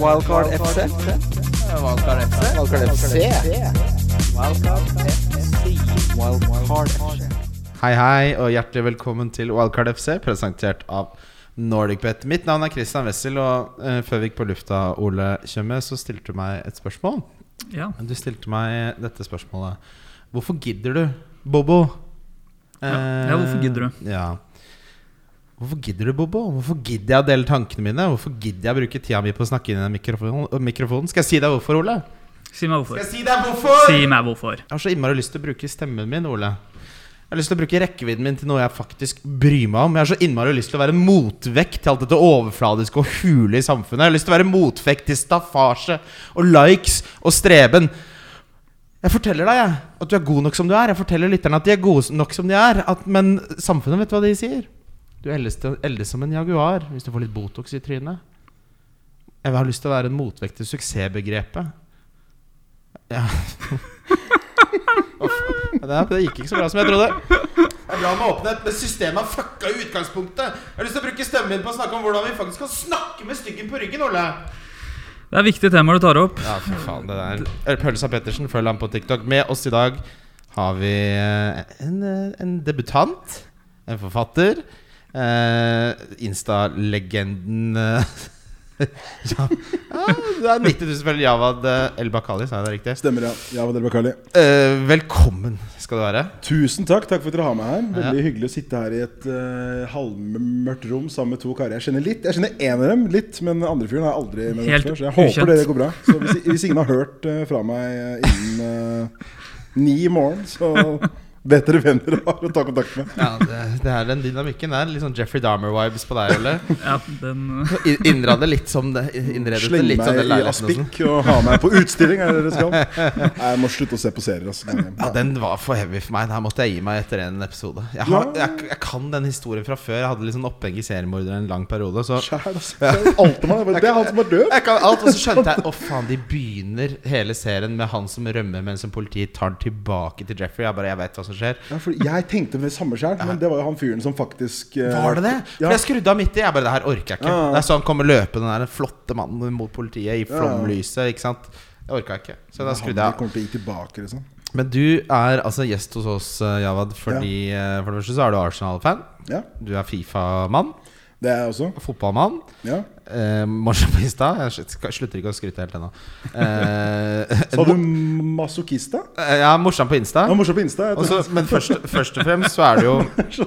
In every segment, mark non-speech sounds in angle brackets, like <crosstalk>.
Wildcard FC. Valgkart FC. Wildcard FC. Wildcard FC. Hei, hei, og hjertelig velkommen til Wildcard FC, presentert av NordicBet. Mitt navn er Christian Wessel, og eh, før vi gikk på lufta, Ole Tjøme, så stilte du meg et spørsmål. Ja. Du stilte meg dette spørsmålet. Hvorfor gidder du, Bobo? Eh, Ja, ja, hvorfor gidder du? Ja. Hvorfor gidder du, Bobo? Hvorfor gidder jeg å dele tankene mine? Hvorfor gidder jeg å bruke tida mi på å snakke inn i den mikrofon- mikrofonen? Skal jeg si deg hvorfor, Ole? Si meg hvorfor. Skal jeg si deg hvorfor? Si meg hvorfor. Jeg har så innmari lyst til å bruke stemmen min, Ole. Jeg har lyst til å bruke rekkevidden min til noe jeg faktisk bryr meg om. Jeg har så innmari lyst til å være motvekt til alt dette overfladiske og hule i samfunnet. Jeg har lyst til å være motvekt til staffasje og likes og streben. Jeg forteller deg jeg, at du er god nok som du er. Jeg forteller lytterne at de er gode nok som de er. At, men samfunnet, vet du hva de sier? Du eldes, til- eldes som en jaguar hvis du får litt Botox i trynet. Jeg har lyst til å være en motvekt til suksessbegrepet. Ja. Uff, det, det gikk ikke så bra som jeg trodde. Det er bra med åpenhet, men systemet har fucka i utgangspunktet. Jeg har lyst til å bruke stemmen min på å snakke om hvordan vi faktisk kan snakke med styggen på ryggen, Ole. Det er viktige temaer du tar opp. Ja, for faen, det der Pølsa Pettersen, følg ham på TikTok. Med oss i dag har vi eh, en, eh, en debutant, en forfatter, eh, Insta-legenden eh, <laughs> ja, ja, det er 90 000 følger Javad eh, El Bakali, sa jeg det riktig? Stemmer, ja. Jeg var Bakali. Eh, velkommen skal du være. Tusen takk. Takk for at dere har meg her. Veldig Ja. hyggelig å sitte her i et eh, halvmørkt rom sammen med to karer. Jeg kjenner litt, jeg kjenner én av dem litt, men den andre fyren har jeg aldri med Helt før. Så jeg ukjent. håper dere går bra. Så hvis, hvis ingen har hørt eh, fra meg eh, innen eh, ni i morgen, så vet dere hvem dere har å ta kontakt med. Ja, det, det er den dynamikken der. Litt sånn Jeffrey Dahmer-vibes på deg, <laughs> Ole. Ja, den, I- Innrede litt som det innredet det Sleng litt som meg den i leiligheten. og sånn. aspik og ha meg på utstilling, er det dere <laughs> skal. Nei, Jeg må slutte å se på serier. Altså. Ja, den var for heavy for meg. Her måtte jeg gi meg etter en episode. Jeg, har, jeg, jeg kan den historien fra før. Jeg hadde litt sånn oppheng i seriemordere en lang periode. Så Skjær, altså. Det er alt om meg. Det er han som er død. jeg kan alt, og så skjønte jeg Å, faen, de begynner hele serien med han som rømmer, men som politiet tar tilbake til Jeffrey. Jeg bare Jeg vet hva som skjer. Ja, for jeg tenkte med det samme sjøl, men det var jo han fyren som faktisk eh, Var det det? Ja. For jeg skrudde av midt i. Jeg bare, det her orker jeg ikke. Ja, ja. Det er så han kommer løpende, den der flotte mannen mot politiet i flomlyset. Ikke sant? Jeg orka ikke. Så da Han skrudde jeg av. kommer til å gi tilbake, liksom. Men du er altså gjest hos oss, eh, Javad, fordi eh, for det første så er du Arsenal-fan. Ja, Du er Fifa-mann. det er jeg også. Fotballmann. Ja. Eh, Marsjapista. Jeg slutt- skal- slutter ikke å skryte helt ennå. Eh, <laughs> Sa du masochist, da? eh, <laughs> ja, morsom på Insta. Han var morsom på Insta. jeg Også, men først, først og fremst så er det jo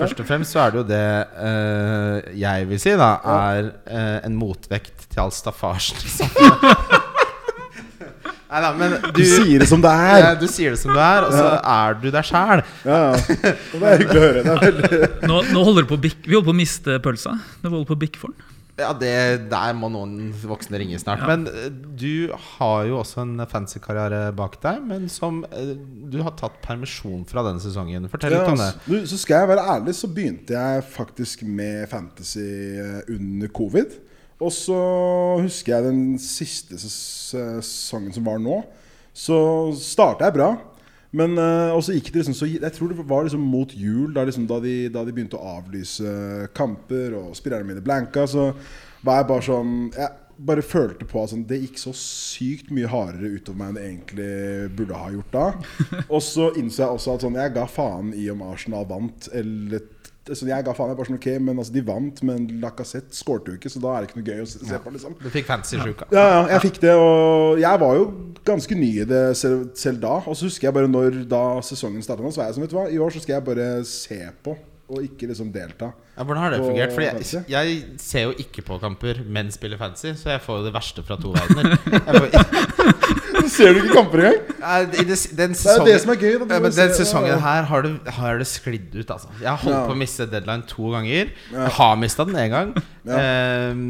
Først og fremst så er det jo det eh, jeg vil si, da, er eh, en motvekt til all staffasjen. <laughs> Nei da, men Du sier det som det er! Ja, du sier det som du er, og så er du deg sjæl. Ja, ja. Det er hyggelig å høre. Det er veldig... nå, nå holder det på å bikke Vi holder på å miste pølsa. Nå holder det på å bikke for den. Ja, det, der må noen voksne ringe snart. Men eh, du har jo også en fancy karriere bak deg, men som eh, du har tatt permisjon fra denne sesongen. Fortell Ja, litt om det. altså. Du, så skal jeg være ærlig, så begynte jeg faktisk med fantasy eh, under covid. Og så husker jeg den siste ses- sesongen som var nå. Så starta jeg bra. Men, eh, og så gikk det liksom så, Jeg tror det var liksom mot jul, da, liksom, da, de, da de begynte å avlyse kamper og spillerne mine blanka. Så var jeg bare sånn Jeg bare følte på at sånn, det gikk så sykt mye hardere utover meg enn det egentlig burde ha <laughs> gjort da. Og så innså jeg også at sånn, jeg ga faen i om Arsenal vant. Eller, altså, jeg ga faen, jeg bare sånn, ok, men altså, De vant, men Lacassette skårte jo ikke, så da er det ikke noe gøy å se, se på. liksom. Du fikk fancy sjuka. Ja, ja, jeg fikk det, og jeg var jo ganske ny i det selv, selv da. Og så husker jeg bare når da sesongen starta nå, så var jeg sånn, vet du hva, i år så skal jeg bare se på, og ikke liksom delta. <laughs> Ja, hvordan har det Og fungert? Fordi jeg, fancy? jeg ser jo ikke på kamper, men spiller fancy, så jeg får jo det verste fra to verdener. Jeg <laughs> får, Ser du ikke kamper engang? Nei, i det, den Det er jo sesongen, det som er gøy. da. Du Ja, må men se- den ja, ja. sesongen her har det, har det sklidd ut, altså. Jeg har holdt Ja. på å miste deadline to ganger. Jeg har mista den én gang. Ja. Ehm,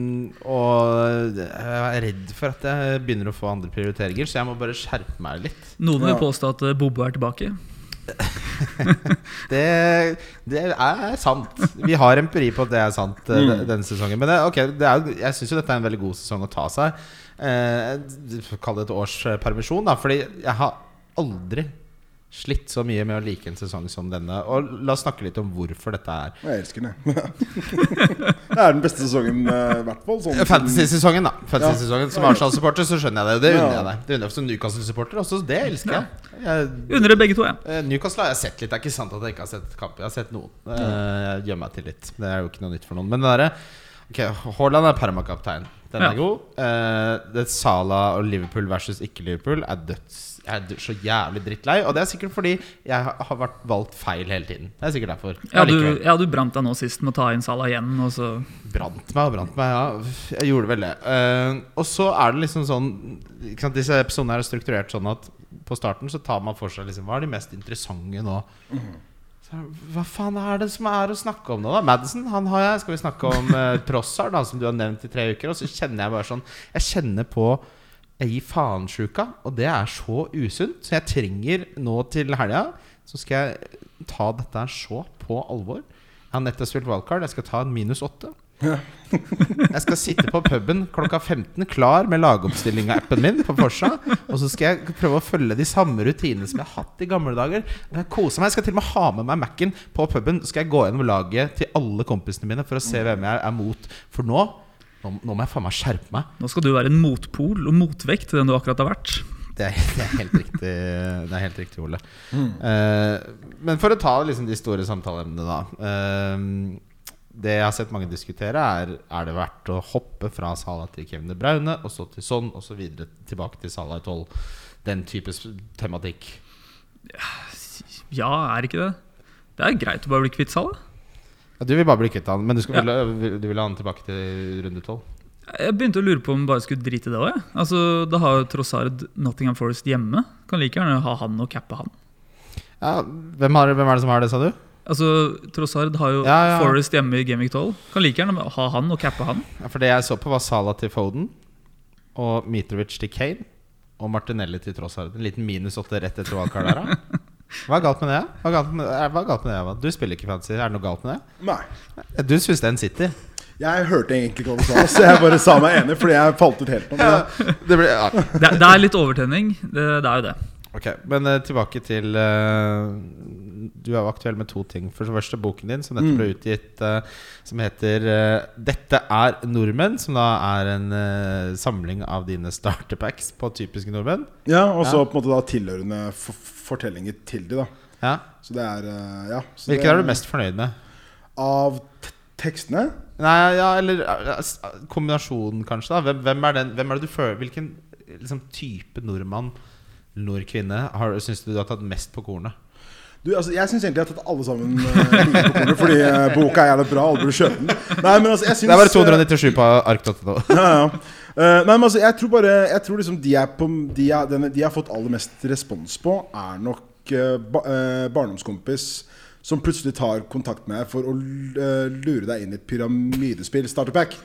og jeg er redd for at jeg begynner å få andre prioriteringer, så jeg må bare skjerpe meg litt. Noen vil Ja. påstå at eh, Bobo er tilbake. Det, det er sant. Vi har empiri på at det er sant eh, de- denne sesongen. Men det, ok, det er, jo- jeg syns jo dette er en veldig god sesong å ta seg. Eh, Kall det et års eh, permisjon, da. Fordi jeg har aldri slitt så mye med å like en sesong som denne. Og la oss snakke litt om hvorfor dette er. Og jeg elsker den, jeg. <laughs> det er den beste sesongen, eh, i hvert fall. Sånn, Fantasy-sesongen, da. Fantasy-sesongen Som Arsenal-supporter så skjønner jeg det. Det unner Ja. jeg deg. Det unner jeg som Newcastle-supporter også. så Det elsker jeg. jeg Under det begge to, ja. eh, Newcastle har jeg sett litt. Det er ikke sant at jeg ikke har sett kamp. Jeg har sett noen. Eh, Jeg gjemmer meg til litt. Det er jo ikke noe nytt for noen. Men det derre ok, Haaland er permakaptein. Den er Ja. god. Eh, det Sala og Liverpool versus ikke-Liverpool er døds jeg er dø- så jævlig drittlei. Og det er sikkert fordi jeg har- har vært valgt feil hele tiden. Det er sikkert derfor. Ja, du, Allikevel. ja, du brant deg nå sist med å ta inn Salah igjen. Og så. Brant meg og brant meg, ja. Jeg gjorde vel det. Eh, og så er det liksom sånn ikke sant, Disse episodene her er strukturert sånn at på starten så tar man for seg liksom Hva er de mest interessante nå? Så, er det, hva faen er det som er å snakke om nå, da? Madison, han har jeg. Skal vi snakke om uh, Trossard, han som du har nevnt i tre uker? Og så kjenner jeg bare sånn Jeg kjenner på jeg gir faen-sjuka, og det er så usunt. Så jeg trenger nå til helga Så skal jeg ta dette her så på alvor. Jeg har nettopp spilt wildcard. Jeg skal ta en minus åtte. Jeg skal sitte på puben klokka 15 klar med lagoppstilling av appen min på Forsa. Og så skal jeg prøve å følge de samme rutinene som jeg har hatt i gamle dager. Jeg koser meg, jeg skal til og med ha med meg Mac-en på puben. Så skal jeg gå gjennom laget til alle kompisene mine for å se hvem jeg er mot. For nå nå, nå må jeg faen meg skjerpe meg. Nå skal du være en motpol og motvekt til den du akkurat har vært. Det er, det er helt riktig, Det er helt riktig Ole. Eh, men for å ta liksom, de store samtaleemnene, da. eh, det jeg har sett mange diskutere, er Er det verdt å hoppe fra Sala til Kevin De Braune, og så til sånn, og så videre tilbake til Sala i 12. Den type s- tematikk. Ja, er ikke det? Det er greit å bare bli kvitt Salah. Ja, du vil bare bli kvitt han, men du, skal, Ja. vil, du vil ha han tilbake til runde 12? Jeg begynte å lure på om jeg bare skulle drite i det òg. Altså, da har jo Trossard Nottingham Forest hjemme. Kan like gjerne ha han og cappe han. Ja, hvem, har, hvem er det som har det, sa du? Altså, Trossard har jo Ja, ja. Forest hjemme i Gaming 12. Kan like gjerne ha han og cappe han. Ja, For det jeg så på var Sala til Foden Og Mitrovic til Kane Og Martinelli til Trossard En liten minus 8 rett etter wildcard der da. Hva er galt med det? Hva er galt med, er- hva er galt med det? Eva? Du spiller ikke fantasy, er det noe galt med det? Nei. Ja, Du synes den sitter Jeg hørte egentlig ikke hva du sa, så jeg bare sa meg enig, fordi jeg falt ut helt nå. Men det blir, ja. Det, er- det er litt overtenning. Det, det er jo det. Ok, men eh, tilbake til eh, Du er jo aktuell med to ting For det første boken din som nettopp ble utgitt eh, Som heter eh, 'Dette er nordmenn' Som da er en eh, samling av dine starterpacks På typiske nordmenn Ja, og så Ja. på en måte da tilhørende for fortellinger til de, da. ja. Så det er eh, Ja. så Hvilken det- er du mest fornøyd med? Av te- tekstene? Nei, ja, eller eh, s- kombinasjonen, kanskje. da Hvem, hvem, er, den, hvem er det du føler Hvilken eh, liksom, type nordmann eller nordkvinne syns du du har tatt mest på kornet? Du, altså, jeg syns egentlig jeg har tatt alle sammen eh, <laughs> like på kornet, fordi eh, boka er jævlig bra, alle burde kjøpe den. Nei, men altså, jeg syns Det er bare 297 på ark.no. <laughs> Ja, ja. Eh, nei, men altså, jeg tror bare Jeg tror liksom de jeg, på, de jeg, den, de jeg har fått aller mest respons på, er nok eh, ba, eh, barndomskompis som plutselig tar kontakt med deg for å l- eh, lure deg inn i et pyramidespill starterpack.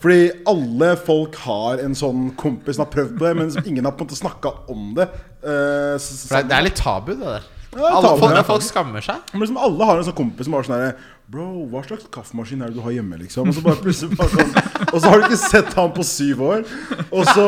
Fordi alle folk har en sånn kompis som har prøvd på det, men som ingen har på en måte snakka om det. Eh, s- s- For det, er- det er litt tabu, det der. det er Alle, tabu, folk, ja. folk skammer seg. men liksom alle har en sånn kompis som bare sånn der, Bro, hva slags kaffemaskin er det du har hjemme? liksom Og så bare plutselig bare sånn Og så har du ikke sett han på syv år, og så,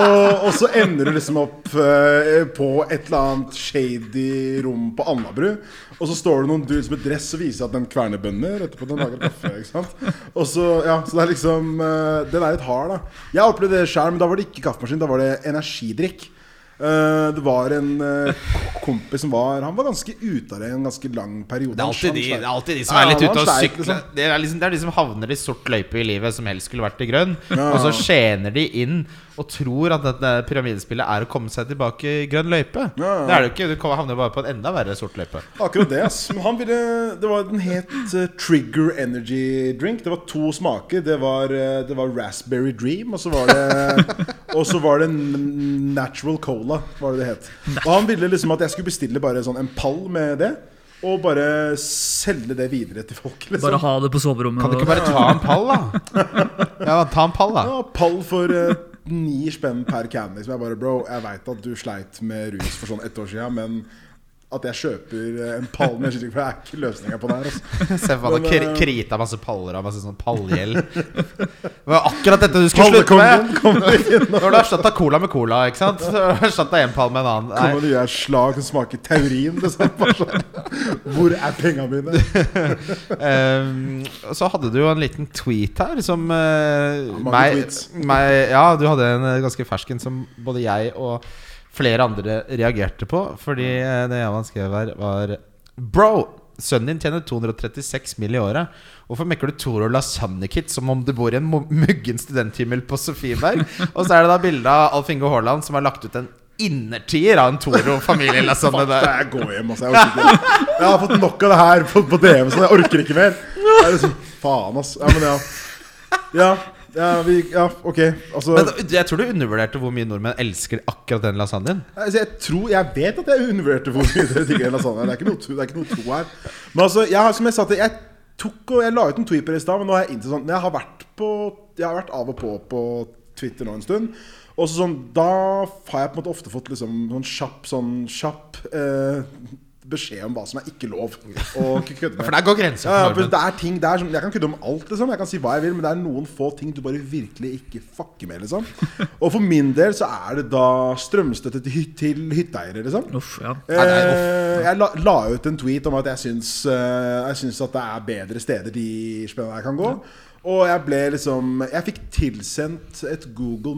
og så ender du liksom opp eh, på et eller annet shady rom på Alnabru. Og så står det noen dudes med dress og viser at den kverner bønder. Etterpå den lager kaffe, ikke sant? Og så, ja, så det er liksom eh, Den er litt hard, da. Jeg opplevde det sjøl, men da var det ikke kaffemaskin, da var det energidrikk. Eh, det var en eh, kompis som var Han var ganske ute av det en ganske lang periode. Det er alltid Han de, slang- det er alltid de som Ja, er litt han ute og sleik, sykler. liksom. Det er, liksom, det er de som havner i sort løype i livet, som helst skulle vært i grønn. Ja. Og så skjener de inn og tror at dette pyramidespillet er å komme seg tilbake i grønn løype. Ja. Det er det jo ikke. Du kommer- havner jo bare på en enda verre sort løype. Akkurat det. ass. Men han ville Det var den het eh, Trigger Energy Drink. Det var to smaker. Det var, eh, det var Raspberry Dream, og så <laughs> var det Og så var det n- Natural Cola, var det det het. Og han ville liksom at jeg skulle bestille bare sånn en pall med det. Og bare selge det videre til folk. Liksom. Bare ha det på soverommet. Sånn. Kan du ikke og- bare ta en pall, da? Ja, ta en pall, da. Ja, pall for eh, ni spenn per can. Liksom. Jeg bare, bro, jeg veit at du sleit med rus for sånn ett år siden, men at jeg kjøper eh, en pall med skyting, for det er ikke løsninga på det her. Altså. Se for deg Men, kri- eh, krita masse paller av masse sånn pallgjeld. Det var akkurat dette du skulle slutte med! Når du erstatta cola med cola, ikke sant? Så erstatta en pall med en annen. Nei. Kommer det nye slag som smaker taurin? Liksom. Bare sånn, Hvor er penga mine? Sånn, Ehm, og så hadde du jo en liten tweet her som eh, mange meg, tweets. meg, Ja, du hadde en eh, ganske fersk en som både jeg og flere andre reagerte på. Fordi eh, det Javan skrev her, var Bro! Sønnen din tjener 236 mill. i året. Hvorfor mekker du Toro lasagnekit som om du bor i en mo- muggen studenthimmel på Sofieberg? Og så er det da bilde av Alf Inge Haaland som har lagt ut en innertier av en Toro familielasagne Fuck, der. jeg går hjem, altså. Jeg, orker ikke. jeg har fått nok av det her på, på DM, så jeg orker ikke mer. Jeg er liksom, faen, ass. Ja, men ja. Ja, ja, vi, ja ok. Altså, Men da- jeg tror du undervurderte hvor mye nordmenn elsker akkurat den lasagnen. altså, jeg tror Jeg vet at jeg undervurderte hvor mye dere digger lasagne. Det er ikke noe, tro- det er ikke noe tro her. Men altså, jeg, har- som jeg sa til Jeg tok og Jeg la ut en tweet på det i stad, men nå har jeg innsett sånn Jeg har vært på Jeg har vært av og på på Twitter nå en stund. Og så sånn, Da har jeg på en måte ofte fått liksom sånn kjapp sånn kjapp eh, beskjed om hva som er ikke lov å kødde med. For der går grensa. Ja, ja, for for nordmenn. det er ting der som, Jeg kan kødde om alt, liksom. Jeg kan si hva jeg vil, men det er noen få ting du bare virkelig ikke fucker med, <laughs> liksom. Og for min del så er det da strømstøtte til, hyt, til hytteeiere, liksom. Uff, ja. Nei, nei, uff. Eh, jeg la, la ut en tweet om at jeg syns, eh, jeg syns at det er bedre steder de spennende her kan gå. Og jeg ble liksom Jeg fikk tilsendt et Google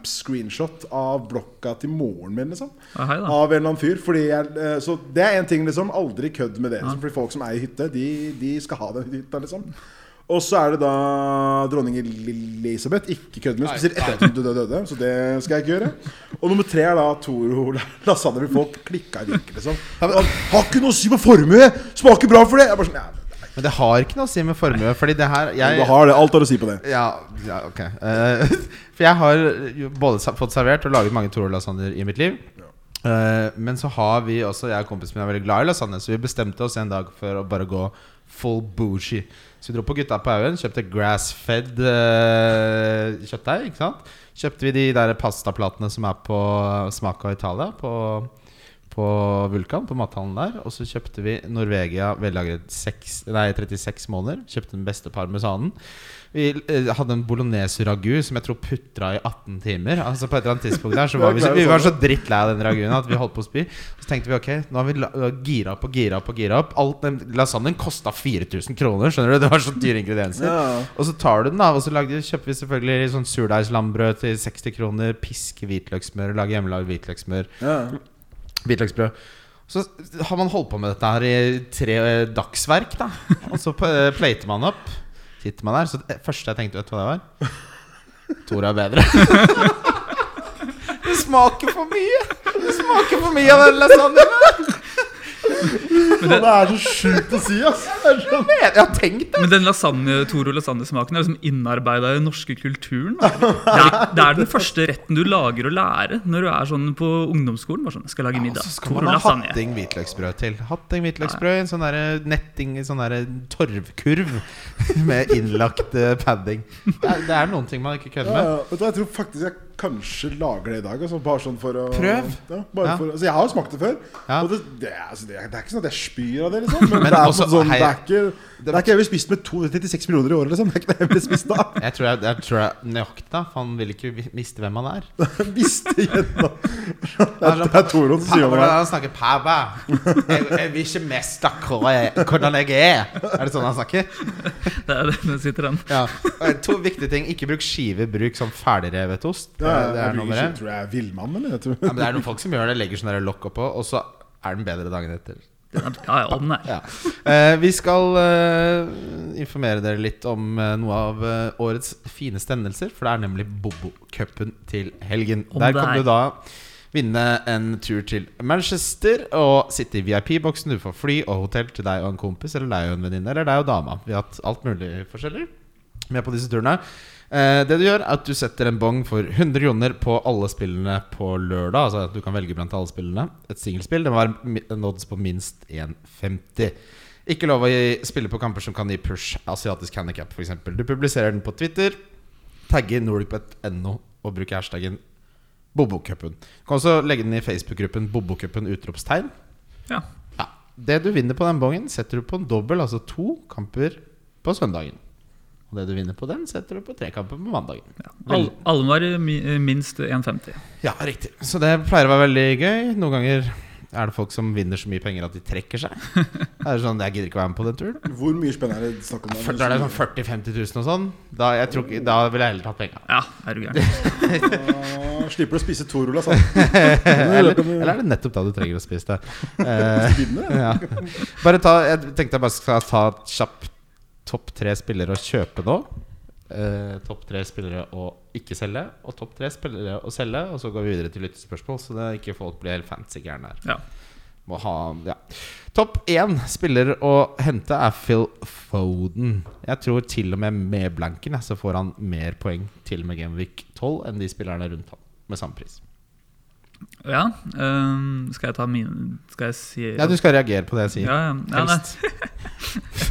Maps-screenshot av blokka til moren min, liksom. Ja, hei da. Av en eller annen fyr. Fordi jeg, eh, så det er en ting, liksom. Aldri kødd med det. Liksom, fordi folk som eier hytte, de, de skal ha den hytta, liksom. Og så er det da dronning Elisabeth. Ikke kødd med henne, spesielt etter at hun døde, døde. Så det skal jeg ikke gjøre. Og nummer tre er da Toro lasagne hvor folk klikka i vinkel, liksom. Har ikke noe å si på formue! Smaker bra for det! Jeg er bare sånn, ja, Men det har ikke noe å si med formue, fordi det her jeg, Du har det. Alt har å si på det. ja, ja, ok Eh, <laughs> For jeg har jo både sa- fått servert og laget mange Toro-lasagner i mitt liv. Eh, men så har vi også Jeg og kompisen min er veldig glad i lasagne, så vi bestemte oss en dag for å bare gå full bougie. Så vi dro på Gutta på haugen, kjøpte grass-fed eh, kjøttdeig. ikke sant? Kjøpte vi de der pastaplatene som er på Smak av Italia, på, på Vulkan, på mathallen der. Og så kjøpte vi Norvegia vellagret seks- nei, 36 måneder. Kjøpte den beste parmesanen. Vi eh, hadde en bolognese ragu som jeg tror putra i 18 timer. Altså På et eller annet tidspunkt der Så var vi, så, vi var så drittlei av den raguen at vi holdt på å spy. Så tenkte vi ok, nå har vi la- gira opp og gira opp og gira opp. Alt den Lasagnen kosta 4000 kroner, skjønner du. Det var så dyre ingredienser. Ja. Og så tar du den, da. Og så lagde, kjøper vi selvfølgelig sånn surdeigslambrød til 60 kroner. Piske hvitløkssmør, lage hjemmelagd hvitløkssmør. Ja. Hvitløksbrød. Så har man holdt på med dette her i tre eh, dagsverk, da. Og så p- eh, plater man opp. Sitter man der. Så det første jeg tenkte, vet du hva det var? Tor er bedre. <laughs> det smaker for mye! Det smaker for mye av den lasagnen. Og det er så sjukt å si, ass! Det er sånn- Jeg har tenkt det. Men den lasagne, Toro lasagne-smaken er liksom innarbeida i den norske kulturen. da. Det er, det er den første retten du lager å lære når du er sånn på ungdomsskolen. Bare sånn, jeg skal lage middag. Så skal Toro man ha lasagne. hatting hvitløksbrød til. Hatting hvitløksbrød i en sånn derre netting, i sånn derre torvkurv <laughs> med innlagt eh, padding. Det er, det er noen ting man ikke kødder Ja, med. ja. Vet du, hva, jeg tror faktisk jeg kanskje lager det i dag. Altså, bare sånn for å Prøv. Ja, bare Ja. For, altså, jeg har jo smakt det før. Ja. Og det, det, er- altså, det, er, det er ikke sånn at jeg spyr av det, liksom. Men, <laughs> Men det, er også, på sånn, hei. det er ikke Det er ikke jeg ville spist med 236 millioner i året, liksom. Det er ikke det jeg ville spist <laughs> da. Jeg tror jeg, jeg, tror jeg nøyaktig, da. For han vil ikke vi- miste hvem han er. Visste <laughs> jenta Det er, det er Toron som sier Hvordan er det. det han snakker pæva? Jeg, jeg vil ikke mest snakke om hva jeg- hvordan jeg er. Er det sånn han snakker? Det er, den sitter den. Ja. Og To viktige ting. Ikke bruk skive, bruk sånn ferdigrevet ost. Det, Ja, er- det jeg er blir nummer ikke- én. tror jeg er villmann, eller? Jeg tror. Ja, men det er noen folk som gjør det, legger sånn der lokk oppå, og så er den bedre dagen etter. den er, ja, ja, den Sånn er. Ja. Eh, vi skal eh, informere dere litt om eh, noe av eh, årets fineste endelser, for det er nemlig Bobo-cupen til helgen. Om Der det kan er. du da vinne en tur til Manchester og sitte i VIP-boksen. Du får fly og hotell til deg og en kompis, eller deg og en venninne, eller deg og dama. Vi har hatt alt mulig forskjellig med på disse turene. Eh, det du gjør, er at du setter en bong for 100 kroner på alle spillene på lørdag. Altså at du kan velge blant alle spillene. Et singelspill. Det må være mi- en odds på minst 1,50. Ikke lov å gi, spille på kamper som kan gi push asiatisk handikap, f.eks. Du publiserer den på Twitter, tagger nordicbet.no og bruker hashtaggen Bobokupen. Du kan også legge den i Facebook-gruppen Bobokupen utropstegn. Ja. Ja. Det du vinner på den bongen, setter du på en dobbel, altså to kamper på søndagen. Og det du vinner på den, setter du på tre kamper på mandagen. Al alle var eh, mi- eh, minst 1,50. Ja, riktig. Så det pleier å være veldig gøy. Noen ganger er det folk som vinner så mye penger at de trekker <laughs> seg. Det er sånn, Jeg gidder ikke være med på den turen. Hvor mye spenn er det snakk om? Da er det sånn 40 000-50 000 og sånn. Da, jeg tror, ikke- da ville jeg heller tatt penga. Ja, er du gæren. Da Ah, slipper du å spise to <laughs> ruller, sant? Eller, eller er det nettopp da du trenger å spise det? <laughs> Eh, ja. Bare ta, jeg tenkte jeg bare skal ta et kjapt topp tre spillere å kjøpe nå. Eh, topp tre spillere å ikke selge, og topp tre spillere å selge. Og så går vi videre til lyttespørsmål, så det ikke folk blir helt fancy gærne her. Ja. Må ha, ja. Topp én spiller å hente er Phil Foden. Jeg tror til og med med blanken jeg, så får han mer poeng til og med Gameweek 12 enn de spillerne rundt han med samme pris. ja ehm, skal jeg ta mine Skal jeg si Ja, Du skal reagere på det jeg sier. ja, ja. Ja, nei. <laughs> Helst.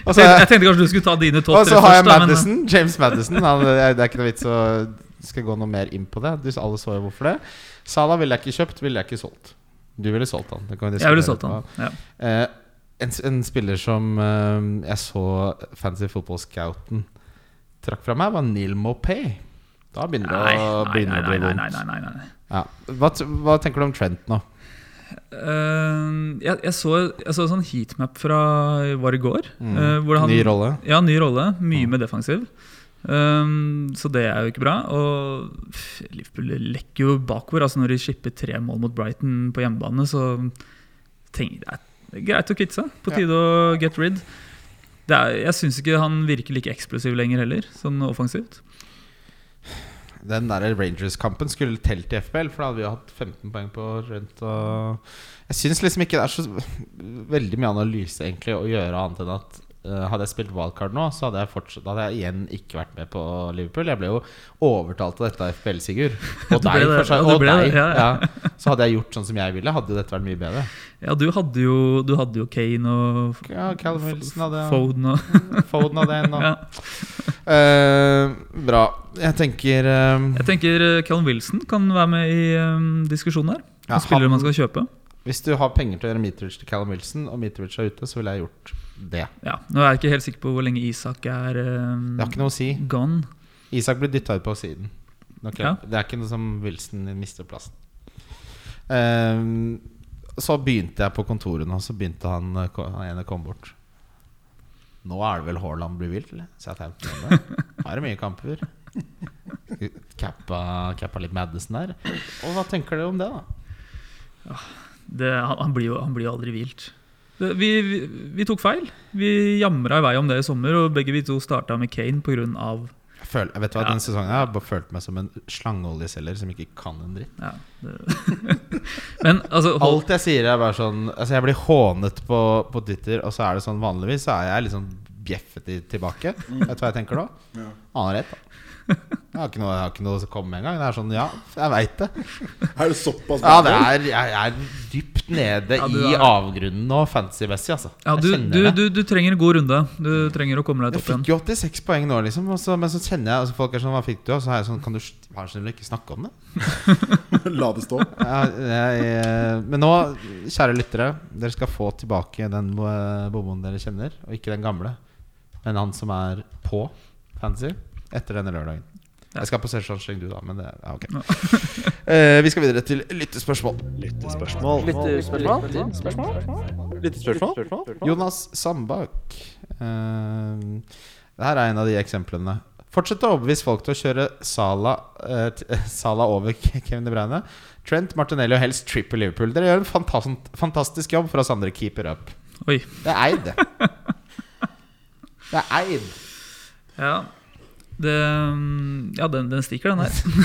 Og så Jeg, har Altså, jeg jeg- tenkte kanskje du skulle ta dine topp og tre så har jeg først. da, men- Madison, James Madison. Han, det er- det er ikke noe vits å skal gå noe mer inn på det. Du, alle så jo hvorfor det. Salah ville jeg ikke kjøpt, ville jeg ikke solgt. Du ville solgt han. Det kan vi Jeg ville diskutere solgt etterpå. han. Ja. Eh, en, s- en spiller som eh, jeg så Fancy Football Scouten trakk fra meg, var Neil Mopay. Da begynner det Nei, å nei, begynne nei, å nei, bli nei, nei, vondt. nei, nei, nei. Ja. Hva, t- hva tenker du om Trent nå? Ehm, jeg, jeg, så, jeg så en sånn heatmap fra Var det i går? eh, hvor han- Mm. Ny rolle? Ja, ny rolle. Mye mer defensiv. Ehm, så det er jo ikke bra. Og pff, Liverpool lekker jo bakover. Altså Når de slipper tre mål mot Brighton på hjemmebane, så tenker jeg det er greit å kvitte seg. På tide å get rid. Det er, jeg syns ikke han virker like eksplosiv lenger heller, sånn offensivt. Den der Rangers-kampen skulle telt i FBL, for da hadde vi jo hatt 15 poeng på Trent. Og jeg syns liksom ikke det er så veldig mye analyse egentlig å gjøre, annet enn at eh, hadde jeg spilt wildcard nå, så hadde jeg, fortsatt, hadde jeg igjen ikke vært med på Liverpool. Jeg ble jo overtalt til dette av FBL, Sigurd. Og ble deg, det, for så- ja, du og ble det, deg. ja, Ja. ja. Så hadde jeg gjort sånn som jeg ville, hadde jo dette vært mye bedre. Ja, du hadde jo, du hadde jo Kane og Ja, Callum Wilson hadde Foden og Foden hadde en. Og. <laughs> ja. Eh, bra. Jeg tenker eh, Jeg tenker eh, Callum Wilson kan være med i eh, diskusjonen her. Ja, Ja, spillere han- man skal kjøpe. Hvis du har penger til å gjøre Mitrovic til Callum Wilson, og Mitrovic er ute, så ville jeg gjort det. Ja, nå er jeg ikke helt sikker på hvor lenge Isak er eh, Det har ikke noe å si. gone. Isak blir dytta ut på siden. Ok, Ja. Det er ikke noe som Wilson mister plassen. Ehm, så begynte jeg på kontoret nå, så begynte han, eh, ko- han ene kom bort. Nå er det vel Haaland blir vill, så jeg tenkte på det. Har det mye kamper. Cappa, cappa litt Madison der. Og hva tenker du om det, da? Det, han, han, blir jo, han blir jo aldri hvilt. Det, vi, vi, vi tok feil. Vi jamra i vei om det i sommer, og begge vi to starta med Kane pga. Jeg føl, jeg vet du hva, Ja. Denne sesongen her har jeg bare følt meg som en slangeoljeselger som ikke kan en dritt. Ja, det. Men altså hold, Alt jeg sier er bare sånn Altså jeg blir hånet på, på Twitter Og så er det sånn vanligvis Så er jeg litt sånn bjeffet i- tilbake Mm. Vet du hva jeg tenker da? Ja. Aner rett da jeg har, ikke noe, jeg har ikke noe som kommer med en gang Det er sånn, ja, jeg vet det Er det såpass? Ja, det er, jeg er dypt nede Ja, du i er- avgrunnen nå Fancy-messig, altså ja, Jeg du, du, kjenner det Mm. du, du trenger en god runde. Du trenger å komme deg Jeg litt opp igjen. fikk jo 86 poeng nå liksom og så- Men så kjenner jeg, altså folk er sånn, hva fikk du? Og så er jeg sånn, kan du s- vær så snill å ikke snakke om det? <laughs> La det stå. ja, jeg, eh, men nå, kjære lyttere, dere skal få tilbake den eh, bomboen dere kjenner, og ikke den gamle, men han som er på fancy etter denne lørdagen. Jeg skal på Sesjonsring, du, da, men det er ja, ok. <laughs> Eh, vi skal videre til lyttespørsmål. Lyttespørsmål? Lyttespørsmål? Jonas Sandbakk. Eh, det her er en av de eksemplene. Fortsett å overbevise folk til å kjøre Sala, eh, t- <laughs> Sala over Kevin De Bruyne. Trent, Martinelli og helst Triple Liverpool. Dere gjør en fantastisk, fantastisk jobb for oss andre keeper up. Oi. Det er eid, det. Det er eid. Eh, Ja, det, mm, ja den, den <laughs> stikker, den her.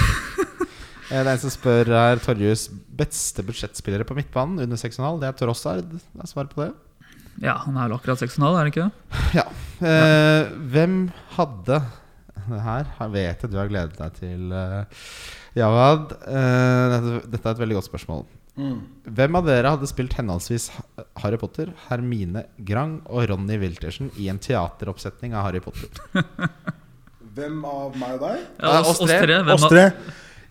Eh, Det er en som spør her Torjus beste budsjettspillere på midtbanen under 6,5. Det er Trossard. Det er svaret på det. Ja, han er vel akkurat 6,5, er han ikke det? Ja. Eh, hvem hadde det her her vet jeg du har gledet deg til, eh, Jawad. Eh, dette, dette er et veldig godt spørsmål. Hvem av dere hadde spilt henholdsvis Ha- Harry Potter, Hermine Grang og Ronny Wiltersen i en teateroppsetning av Harry Potter? Hvem av meg og deg? Ja, oss tre. Hvem, Oss av- tre.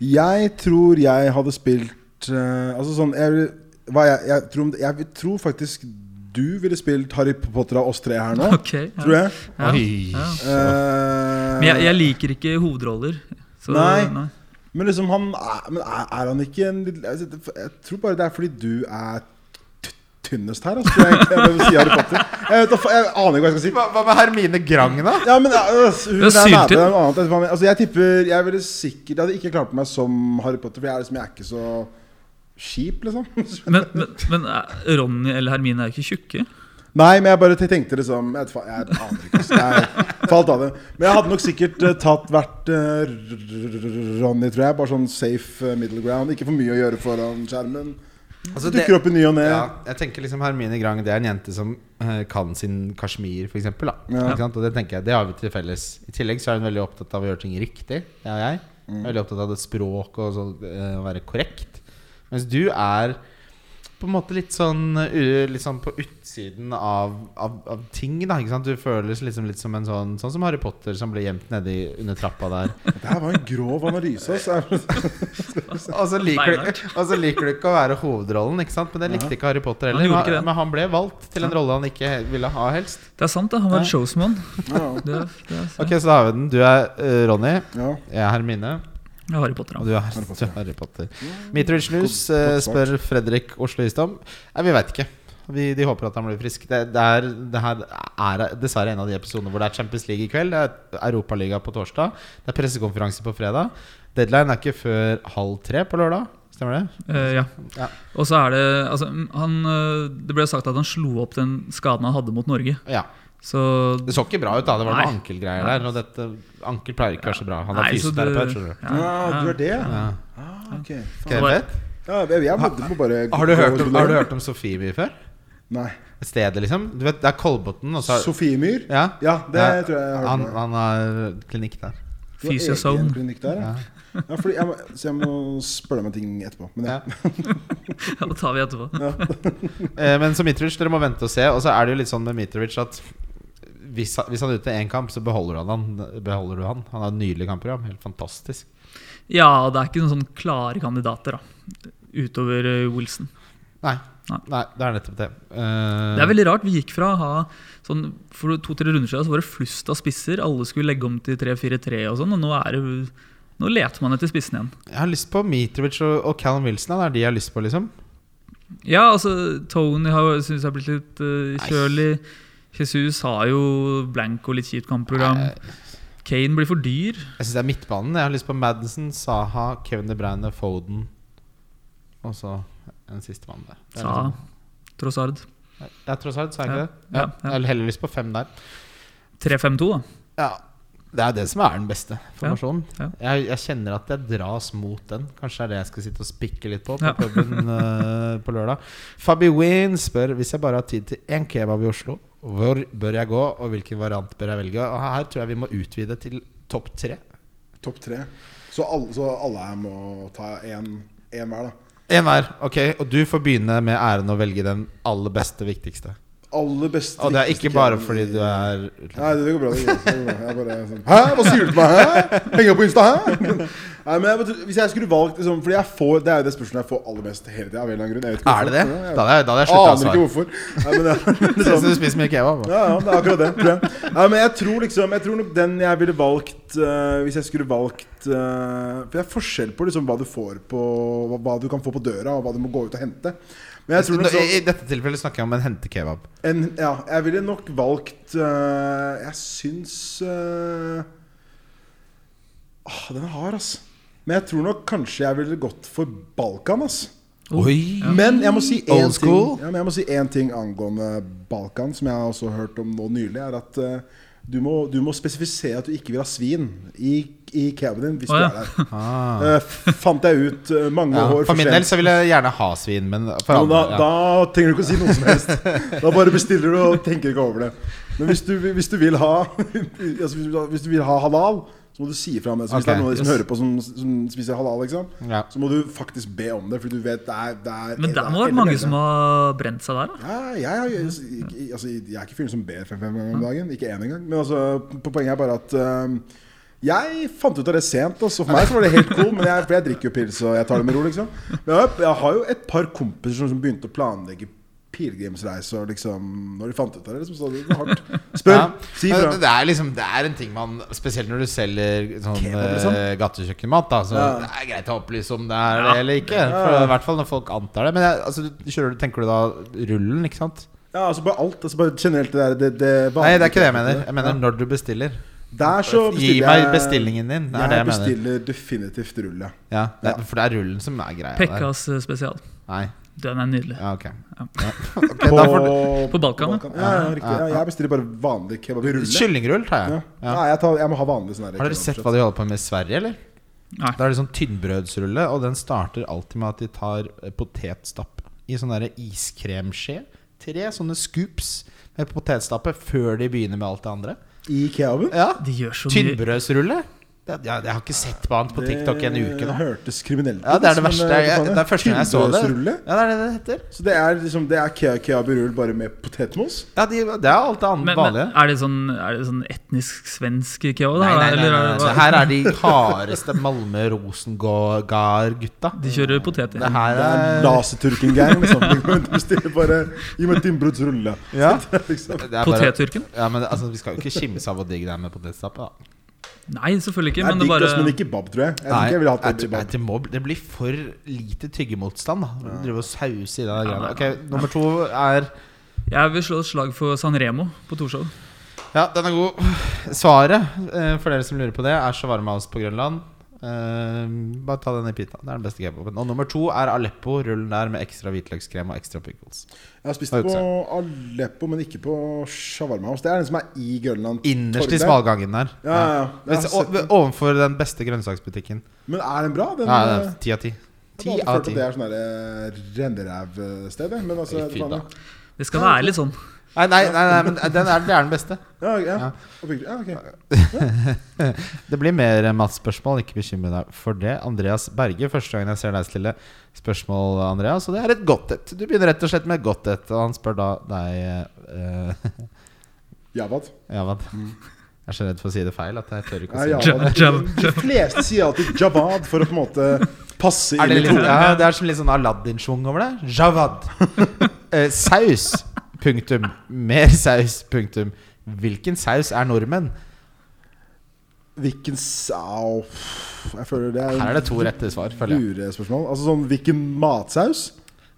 Jeg tror jeg hadde spilt eh, Altså sånn jeg, hva jeg, jeg, tror, om det- jeg tror faktisk du ville spilt Harry Potter av oss tre her nå. <laughs> <laughs> Ok, ja. Tror jeg. Ja, Oi. ja. Eh, Men jeg, jeg liker ikke hovedroller. Så, Nei. Men liksom han er, men er, er han ikke en litt jeg, jeg tror bare det er fordi du er t- tynnest her. Altså, tror jeg, egentlig. jeg, vil si Harry Potter. jeg, vet, da fa- jeg aner ikke hva jeg skal si. Hva, hva med Hermine Grang, da? Ja, men altså, hun Du er er nærmere syltynn. enn noe annet. etterpå, men, Altså, jeg tipper Jeg ville sikkert Jeg hadde ikke klart meg som Harry Potter, for jeg er, liksom, jeg er ikke så kjip, liksom. <laughs> Men, men, men eh, Ronny eller Hermine er jo ikke tjukke. Nei, men jeg bare te- tenkte liksom Jeg, vet fa- jeg aner ikke. altså, Jeg falt av det. Men jeg hadde nok sikkert eh, tatt hvert eh, r- r- r- Ronny, tror jeg. Bare sånn safe eh, middle ground. Ikke for mye å gjøre foran skjermen. Altså, det- Dukker opp i ny og ne. Ja, jeg tenker liksom Hermine Grang Det er en jente som eh, kan sin kasjmir, f.eks. Ja. Ja. Ikke sant? Og det tenker jeg, det har vi til felles. I tillegg så er hun veldig opptatt av å gjøre ting riktig. Det er jeg. Jeg er Veldig opptatt av det språk og så, eh, å være korrekt. Mens du er på en måte litt sånn uh, Litt sånn på utsiden av, av, av ting, da. Ikke sant? Du føles liksom litt som en sånn Sånn som Harry Potter som ble gjemt nedi under trappa der. Det her var en grov analyse. altså. <laughs> ass. Og så liker, Beinhardt. du, og så liker du ikke å være hovedrollen, ikke sant? men det likte ikke Harry Potter Han heller. gjorde ikke det. men, men han ble valgt til en rolle han ikke he- ville ha helst. Det er sant, da. han var Ja. showsman. Ja, <laughs> Det, det er, Ok, Så da har vi den. Du er eh, Ronny, ja. jeg er Hermine, Jeg har Harry Potter. og da. du er Harry Potter. Mm. Mitrovic Lus eh, spør Fredrik Oslo Isdom. Nei, vi veit ikke. Vi, de håper at han blir frisk. Det, det, er, det her er dessverre en av de episodene hvor det er Champions League i kveld. Det er Europaliga på torsdag. Det er pressekonferanse på fredag. Deadline er ikke før halv tre på lørdag. Stemmer det? Eh, ja. Ja. Og så er det altså, mm, han, eh, Det ble sagt at han slo opp den skaden han hadde mot Norge. Ja. Så Det så ikke bra ut, da. Det var Nei. noen ankelgreier der. Og dette, ankel pleier ikke å være så bra. Han er Nei, så fysioterapeut, det- skjønner du. ja du er det? Ja. Ja. Ah, ok. Ok, fett. Ja, jeg, jeg må, må bare Har, du hørt om, har du hørt om Sofiemy før? Nei. Stedet, liksom? Du vet, Det er Kolbotn, og så er- Sofiemyr? ja, Ja, det Ja. tror jeg jeg har hørt han, sånn. om. han har eh, klinikk der. Det var egen Fysiozone. klinikk Der, ja. Ja, fordi jeg må, så jeg må spørre deg om en ting etterpå. Men ja. Ja. <laughs> Ja, det tar vi etterpå. <laughs> Eh, Men som Mitrovic, dere må vente og se. Og så er det jo litt sånn med Mitrovic at hvis, han- hvis han er ute én kamp, så beholder han han. Beholder du han. han har nydelige kamper. Ja. Helt fantastisk. Ja, det er ikke noen sånn klare kandidater, da. Utover eh, Wilson. Nei. Nei. Nei, det er nettopp det. Eh, Det er veldig rart. Vi gikk fra å ha sånn, For to-tre runder siden så var det flust av spisser. Alle skulle legge om til 3-4-3 og sånn, og nå er det Nå leter man etter spissen igjen. Jeg har lyst på Mitrovic og, og Callum Wilson. ja. Det er de jeg har lyst på, liksom. Ja, altså, Tony har- synes jeg har blitt litt eh, kjølig. Jesus har jo blank og litt kjipt kampprogram. Nei. Kane blir for dyr. Jeg syns det er midtbanen. Jeg har lyst på Madison, Saha, Kevin De Bruyne, Foden. Og så en sistemann der. Det er Sa liksom- Trossard. Ja, tross alt, sa jeg ikke Ja, det? Ja. ja, ja. Jeg har heller lyst på fem der. 3-5-2, da. Ja, Det er det som er den beste formasjonen. Ja, Jeg, jeg kjenner at jeg dras mot den. Kanskje det er det jeg skal sitte og spikke litt på på Ja. <laughs> puben eh, på lørdag. Fabi Wien spør hvis jeg bare har tid til én kebab i Oslo, hvor bør jeg gå, og hvilken variant bør jeg velge? Og her tror jeg vi må utvide til topp tre. Topp tre. Så alle, så alle her må ta én hver, da. En hver. Ok, Og du får begynne med æren å velge den aller beste, viktigste. Aller beste Og det er ikke bare fordi du er er Nei, det går bra. Det går bra. Det går bra. Jeg bare sånn Hæ, hva sier du til meg? Hæ? Henger på Insta, hæ? <laughs> Nei, men jeg, bare tror- hvis jeg skulle valgt liksom, Fordi jeg får, Det er jo det spørsmålet jeg får aller mest hele tida. Av en eller annen grunn. Jeg vet ikke Er det det? hvorfor. Da hadde jeg, da hadde jeg Jeg slutta å aner ikke svare. hvorfor. Nei, men Det <laughs> det, sånn- ser ut som du spiser mye kebab. da. Ja, ja, det er akkurat det. Tror jeg. Nei, men jeg tror liksom Jeg tror nok den jeg ville valgt eh, hvis jeg skulle valgt eh, For det er forskjell på liksom hva du får på hva, hva du kan få på døra, og hva du må gå ut og hente. Men jeg tror Nå, nok I så, i dette tilfellet snakker jeg om en hentekebab. en, Ja, jeg ville nok valgt eh, Jeg syns eh, ah, Den er hard, ass. Men jeg tror nok kanskje jeg ville gått for Balkan, ass. Oi! Men jeg må si Old én ting, school? ja, men jeg må si en ting angående Balkan, som jeg har også hørt om nå nylig, er at eh, du, må, du må spesifisere at du ikke vil ha svin i, i kebaben din hvis Å, ja. du er <laughs> der. Ah. Eh, f- fant jeg ut eh, mange Ja, år for min sent. del så vil jeg gjerne ha svin, men for Jo, andre da, ja. da trenger du ikke å si noe som helst. Da bare bestiller du og tenker ikke over det. Men hvis du, hvis du, vil, ha, <laughs> altså hvis du, hvis du vil ha halal, så må du si ifra om det. Så hvis Ok, det er noen av de som yes. hører på som, som spiser halal, liksom, Ja. så må du faktisk be om det, fordi du vet det er, det er Men det der er må det ha vært ille mange bedre. som har brent seg der. da. Ja, jeg, har- Mm. jeg, jeg, altså, jeg er ikke fyren som ber fem fem ganger om dagen. Ikke én engang. Men altså, po- poenget er bare at øhm, Jeg fant ut av det sent. Altså. For meg så var det helt cool, men jeg, for jeg drikker jo pils og jeg tar det med ro. liksom Men jeg, har- jeg har jo et par kompiser som, som begynte å planlegge pilegrimsreise og liksom, når de fant ut av det. Liksom, så det var hardt. Spør. Ja. Si Men fra. det, det er liksom Det er en ting man Spesielt når du selger sånn Kebab, liksom. eh, gatekjøkkenmat. Da, så Ja. Det er greit å opplyse om det er det eller ikke. For, I hvert fall når folk antar det. Men jeg, altså, du- kjører, du- tenker du da rullen, ikke sant? Ja, altså bare alt. Altså bare generelt det der det, det Nei, vanlige. det er ikke det jeg mener. Jeg mener når du bestiller. Der så Gi bestiller meg jeg- bestillingen din. Det Jeg er det jeg mener. bestiller definitivt rulle. Ja, det er, for det er rullen som er greia der. Pekkas eh, spesial. Nei, Den er nydelig. ja, ok. Ja. Ja. Ok, da får du På Balkan, da. Ja, ja, riktig. Ja, jeg bestiller bare vanlig kebab i rulle. Kyllingrull tar Ja. jeg. Ja. Nei, jeg, tar, jeg må ha vanlig sånn her Har dere kebab, sett så- hva de holder på med i Sverige, eller? Nei. Da er det sånn tynnbrødsrulle, og den starter alltid med at de tar eh, potetstapp i sånn derre iskremskje. Tre sånne scoops med potetstappe før de begynner med alt det andre. I kebaben? Ja, De gjør så mye Tynnbrødsrulle? Det, ja, jeg har ikke sett på annet på TikTok i en uke Det nå. Eh, hørtes kriminelt ut. Ja, Det er det men, verste. eh, Jeg, faen, det er første gang jeg så det. tynnbrødsrulle. Ja, det er det det heter. Så det er liksom Det er ke- kebab i rull bare med potetmos? Ja, de, Det er alt det men, andre men vanlige. er det sånn, er det sånn etnisk svensk kebab? da, Nei, nei, nei, nei, eller er det nei. hva? Her er de hardeste <laughs> Malmö-Rosengård-gutta. De kjører poteter. Det her Det er er laserturken-gang. Liksom. Du bestiller bare Gi meg tynnbrødsrulle. ja. <laughs> Liksom. Det er bare- Potetturken? Ja, men altså, Vi skal jo ikke kimse av hvor digg det er med potetstappe. da Nei, selvfølgelig ikke. Det er Men det digg, bare altså, men ikke bab, tror jeg. Jeg tror Nei, ikke jeg ville hatt det jeg i tror- bab. det, må, bli- det blir for lite tyggemotstand. da Når Du driver og sauser i deg. Ja, Ok, Nummer to er Jeg vil slå et slag for Sanremo på Torshov. Ja, den er god. Svaret, eh, for dere som lurer på det, er shawarma oss på Grønland. Eh, bare ta den i pita. Det er den beste kebaben. Og nummer to er Aleppo. Rullen der med ekstra hvitløkskrem og ekstra pickles. Jeg har spist Har du på ikke Aleppo, men ikke på shawarma house. Det er den som er i Grønland. Innerst i Torget. svalgangen der. Ja, ja, ja. Jeg har Mens, sett o- den. ovenfor den beste grønnsaksbutikken. Men er den bra? Den, Ja, eh, ja, Ti av ti. Jeg Ti hadde av følt at ti. det er sånn der, eh, rennerævsted. jeg. Men altså Fy faen, da. jeg- Det skal være litt sånn. Nei, nei, nei, nei men den er, det er den beste. Ja, ja. Ja. Oppriktig, ja, ok. Det blir mer Mats-spørsmål, ikke bekymre deg for det. Andreas Berge, første gangen jeg ser deg stille spørsmål, Andreas. Og det er et godt et. Du begynner rett og slett med et godt et, og han spør da deg eh, <laughs> Javad. Javad. Jeg er så redd for å si det feil at jeg tør ikke Mm. Ja, å si det. Javad. Jab- De fleste sier alltid Javad for å på en måte passe Er inn det, i litt, kronen. ja, det er som litt sånn Aladdin-schwung over det. Javad. <laughs> Eh, saus. Punktum. Mer saus. Punktum. Hvilken saus er nordmenn? Hvilken sau Jeg føler det Her er er det to rette svar, føler jeg. lurespørsmål. Altså sånn hvilken matsaus?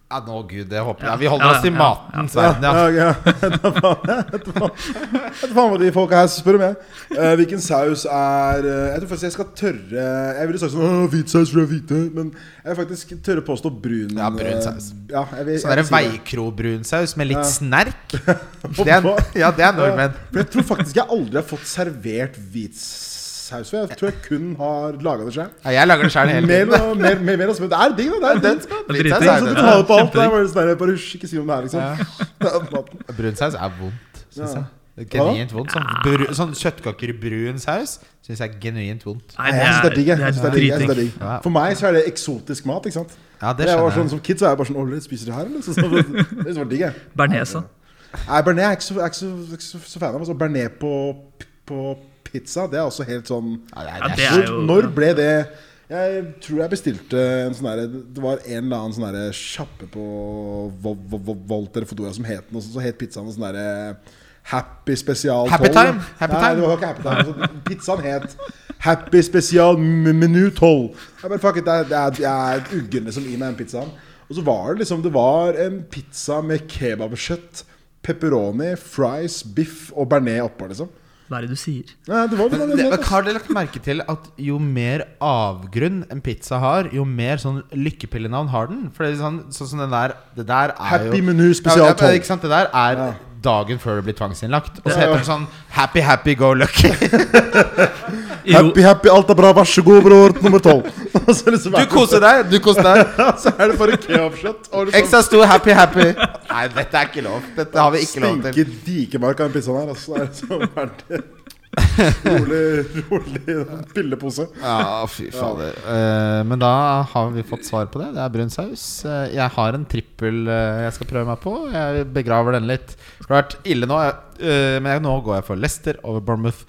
Ja, nå, gud, det håper jeg. Vi holder oss til Ja, ja, ja. matens verden, ja. ja. <laughs> ok. Vet du faen vet du faen- vet du faen hva de folka her spør om, jeg. Eh, hvilken saus er eh, Jeg tror faktisk jeg skal tørre Jeg ville sagt sånn «Åh, hvit saus, for det er hvite. Men jeg vil faktisk tørre å påstå brun. Ja, brun eh, saus. Ja, jeg vil, Sånn derre jeg vil si det. veikrobrunsaus med litt Ja. <laughs> snerk. Det er, ja, det er <laughs> nordmenn. For jeg tror faktisk jeg aldri har fått servert hvit saus før. Jeg tror jeg kun har laga det sjøl. Ja, jeg lager det sjøl Mer, hele tiden. og mer, mer, mer, altså, men det er digg, da. Det er digg. Det er dritdigg. Det er sånn Brunsaus at du tar det på Kjempedigg. alt. Det er bare sånn der, bare hysj, ikke si noe om det Ja. her, liksom. <laughs> Det er maten. er, brunsaus er vondt, syns Ja. jeg. Det er Genuint vondt. Sånn, bru, sånn kjøttkaker i brun saus syns jeg er genuint vondt. Nei, Nei, jeg syns det er digg. jeg. Jeg synes det er digg, jeg synes det er dritdigg. digg. Ja. For meg så er det eksotisk mat. ikke sant? Ja, det jeg var skjønner jeg. sånn, som kid så er jeg bare sånn Ålreit, spiser du her, eller? <laughs> Så, så, det synes jeg var digg, jeg. Bernesa. Nei, Bearnés er jeg ikke så, er ikke så, er ikke så, så fan av. Altså, Bearnés på, på pizza, det er også helt sånn Ja, det Ja, er, det det er, er- Når, jo- når ble det Jeg tror jeg bestilte en sånn derre Det var en eller annen sånn derre sjappe på Vo- Vo- Vo- Volt eller Fodora som het noe sånt, så het pizzaen noe sånn derre Happy Spesial Happy 12. Time, Happy Nei, Time. det var ikke Happy Time. Altså, pizzaen het Happy Spesial M- Menu 12. Jeg bare fuck it, det er, det er, jeg er uggen liksom i meg den pizzaen. Og så var det liksom Det var en pizza med kebabkjøtt, pepperoni, fries, biff og bearnés oppå, liksom. Hva er det du sier? Nei, det var, det Men var, det, det var, har dere lagt merke til at jo mer avgrunn en pizza har, jo mer sånn lykkepillenavn har den? For det er sånn, sånn som den der Det der er jo Happy Menu Spesial Ja, men- 12. Ikke sant, det der er Ja. dagen før det blir tvangsinnlagt. Og så Ja, ja. heter den sånn Happy Happy Go Lucky. <laughs> Iro Happy, happy, alt er bra, vær så god, bror, nummer tolv. <laughs> Og så liksom Du er det- koser deg, du koser deg. Så er det bare kebabkjøtt. og liksom Ekstra stor happy happy. sånn? <laughs> Nei, dette er ikke lov. Dette har vi ikke lov til. Stinker dikemark av den pizzaen her. Altså, det er liksom verdt Rolig, rolig pillepose. Ja, fy fader. Eh, men da har vi fått svar på det. Det er brun saus. Eh, jeg har en trippel eh, jeg skal prøve meg på. Jeg begraver den litt. Det har vært ille nå, jeg, eh, men jeg, nå går jeg for Leicester over Bournemouth.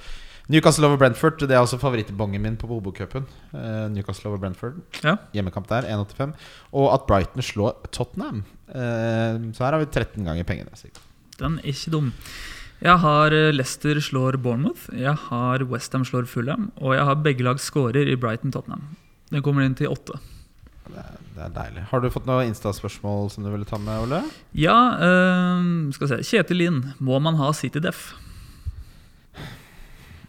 Newcastle over Brentford. Det er også favorittbongen min på Bobokupen. Eh, Newcastle over Brentford. Ja. Hjemmekamp der, 1,85. Og at Brighton slår Tottenham. Eh, så her har vi 13 ganger pengene. sikkert. Den er ikke dum. Jeg har eh, Leicester slår Bournemouth, jeg har Westham slår Fulham, og jeg har begge lag scorer i Brighton Tottenham. Den kommer inn til åtte. Det er deilig. Har du fått noen Insta-spørsmål som du ville ta med, Ole? Ja, eh, skal vi se. Kjetil Lien, må man ha City Def?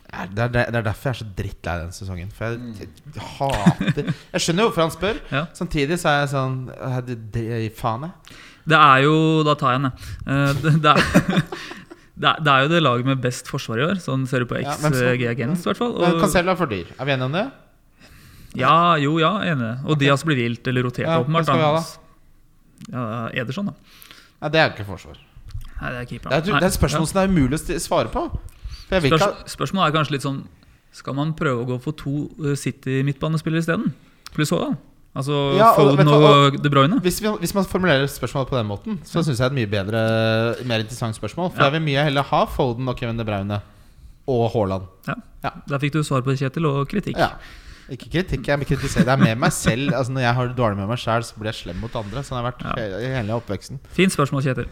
Er- Det er, det er derfor jeg er så drittlei den sesongen. For jeg, jeg, hater Jeg skjønner jo hvorfor han spør. Ja. Samtidig så er jeg sånn eh, det, det, Faen, jeg. Det er jo Da tar jeg den, jeg. Eh, det, det, er, <laughs> det, er, det er jo det laget med best forsvar i år, sånn ser du på Ja, men så- XG Gens, i hvert fall. Men Og, Cancelo er for dyr. Er vi enige om det? ja, jo, ja, enig. Og Diaz blir vilt, eller rotert, Ja, hvem åpenbart. skal vi ha da? Ja, Ederson, da. Nei, det er jo ikke forsvar. Nei, det er Det keeperen. er, det er et spørsmål som det er umulig å st- svare på. For jeg vil ikke ha Spørs, spørsmålet er kanskje litt sånn Skal man prøve å gå for to eh, City-midtbanespillere isteden? Pluss Haaland? Altså Ja, og vet Foden du og, hva, De Bruyne? hvis, vi, hvis man formulerer spørsmålet på den måten, så syns jeg det er et mye bedre mer interessant spørsmål. For Ja. jeg vil mye heller ha Foden og Kevin De Braune og Haaland. Ja. Ja. Der fikk du svar på det, Kjetil, og kritikk. Ja. Ikke kritikk, jeg kritiserer. Det er med meg selv. Altså Når jeg har det dårlig med meg sjæl, så blir jeg slem mot andre. Sånn har jeg vært Ja. he- hele oppveksten. Fint spørsmål, Kjetil.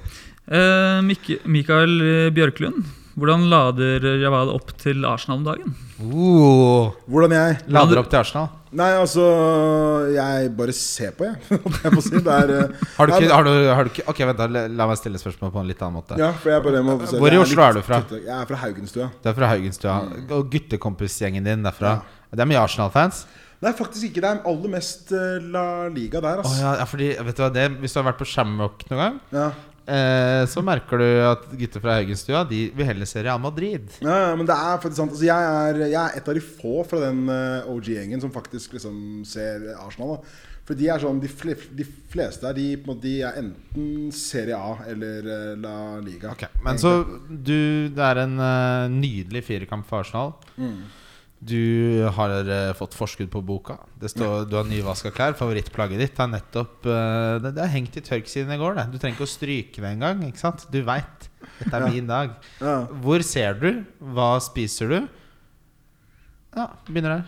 Eh, Mik Mikael eh, Bjørklund, hvordan lader Javal opp til Arsenal om dagen? Uh, Hvordan jeg lader opp til Arsenal. Nei, altså Jeg bare ser på, jeg. <laughs> holdt jeg på å si. Det er eh, Har du Nei, ikke, har du, har du ikke Ok, vent, da. la- La meg stille spørsmålet på en litt annen måte. Ja, for jeg bare må Hvor i jeg Oslo er litt- du fra? Jeg er fra Haugenstua. Det er fra Haugenstua. Og guttekompisgjengen din derfra. Det er mye Arsenal-fans. Nei, faktisk ikke. Det er aller mest eh, La Liga der, Å altså. ja, ja, fordi, vet du hva det Hvis du har vært på Shamrock noen gang, ja. eh, så merker du at gutter fra Haugenstua De vil heller se Real Madrid. Ja, ja, men det er faktisk sant. Altså, jeg, er, jeg er et av de få fra den eh, OG-gjengen som faktisk liksom ser Arsenal. Da. For de er sånn, de, fle, de fleste der de, på en måte, de er enten Serie A eller eh, La Liga. Ok, Men så du, Det er en eh, nydelig firekamp for Arsenal. Mm. Du har eh, fått forskudd på boka. Det står, Du har nyvaska klær. Favorittplagget ditt er nettopp eh, det, det er hengt i tørk siden i går. Det. Du trenger ikke å stryke det engang. ikke sant? Du veit. Dette er Ja. min dag. Ja. Hvor ser du? Hva spiser du? Ja, begynner der.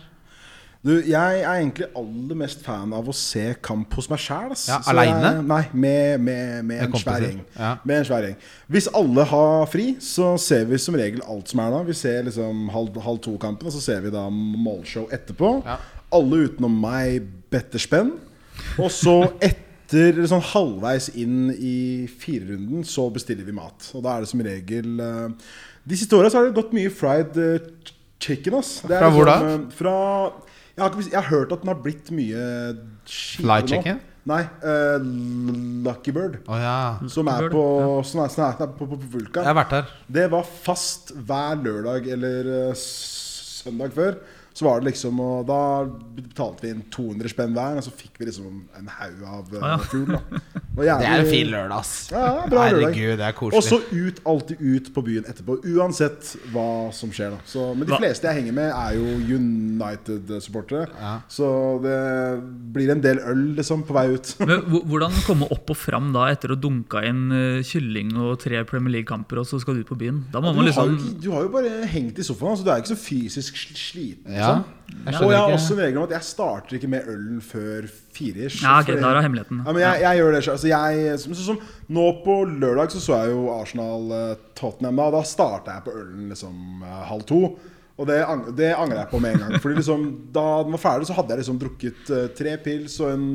Du, jeg er egentlig aller mest fan av å se kamp hos meg sjæl. Ja, alene? Nei, med, med, med en kompiser. svær gjeng. Ja. Med en svær gjeng. Hvis alle har fri, så ser vi som regel alt som er da. Vi ser liksom halv, halv to-kampen, og så ser vi da målshow etterpå. Ja. Alle utenom meg better spenn. Og så etter eller sånn halvveis inn i firerunden så bestiller vi mat. Og da er det som regel eh, De siste åra så har det gått mye fried eh, ch- chicken, ass. Det er Fra hvor da? eh, Fra jeg har, ikke, jeg har hørt at den har blitt mye Fly skipere nå. chicken? Nei. eh, Lucky Bird. Å ja. Som er Bird, på, som er, som er på, på, på Vulkan. Jeg har vært der. Det var fast hver lørdag eller eh, s- søndag før. Så var det liksom, og Da betalte vi inn 200 spenn hver, og så fikk vi liksom en haug av Ah, ja. uh, <laughs> fugl. da. Det var Det jævlig- er en fin lørdag, ass. Ja, det er bra lørdag. Herregud, det er Og så koselig. ut, alltid ut på byen etterpå. Uansett hva som skjer. da så, Men de Hva- fleste jeg henger med, er jo United-supportere. Ja. Så det blir en del øl liksom på vei ut. Men hvo- hvordan komme opp og fram da etter å dunka inn eh, kylling og tre Premier League-kamper, og så skal du ut på byen? Da må Du man har, jo liksom ikke, du har jo bare hengt i sofaen, så du er ikke så fysisk sl- sliten. Ja. liksom. Jeg Og jeg skjønner har også ikke. en regel om at jeg starter ikke med ølen før fire-ish. Ja, ok, der er hemmeligheten. Ja, men jeg, jeg gjør det selv. Altså, jeg, som, som, nå på lørdag så, så jeg jo Arsenal-Tottenham, da, og da starta jeg på ølen liksom eh, halv to. Og det, ang- det angra jeg på med en gang. Fordi liksom, Da den var ferdig, så hadde jeg liksom drukket eh, tre pils og en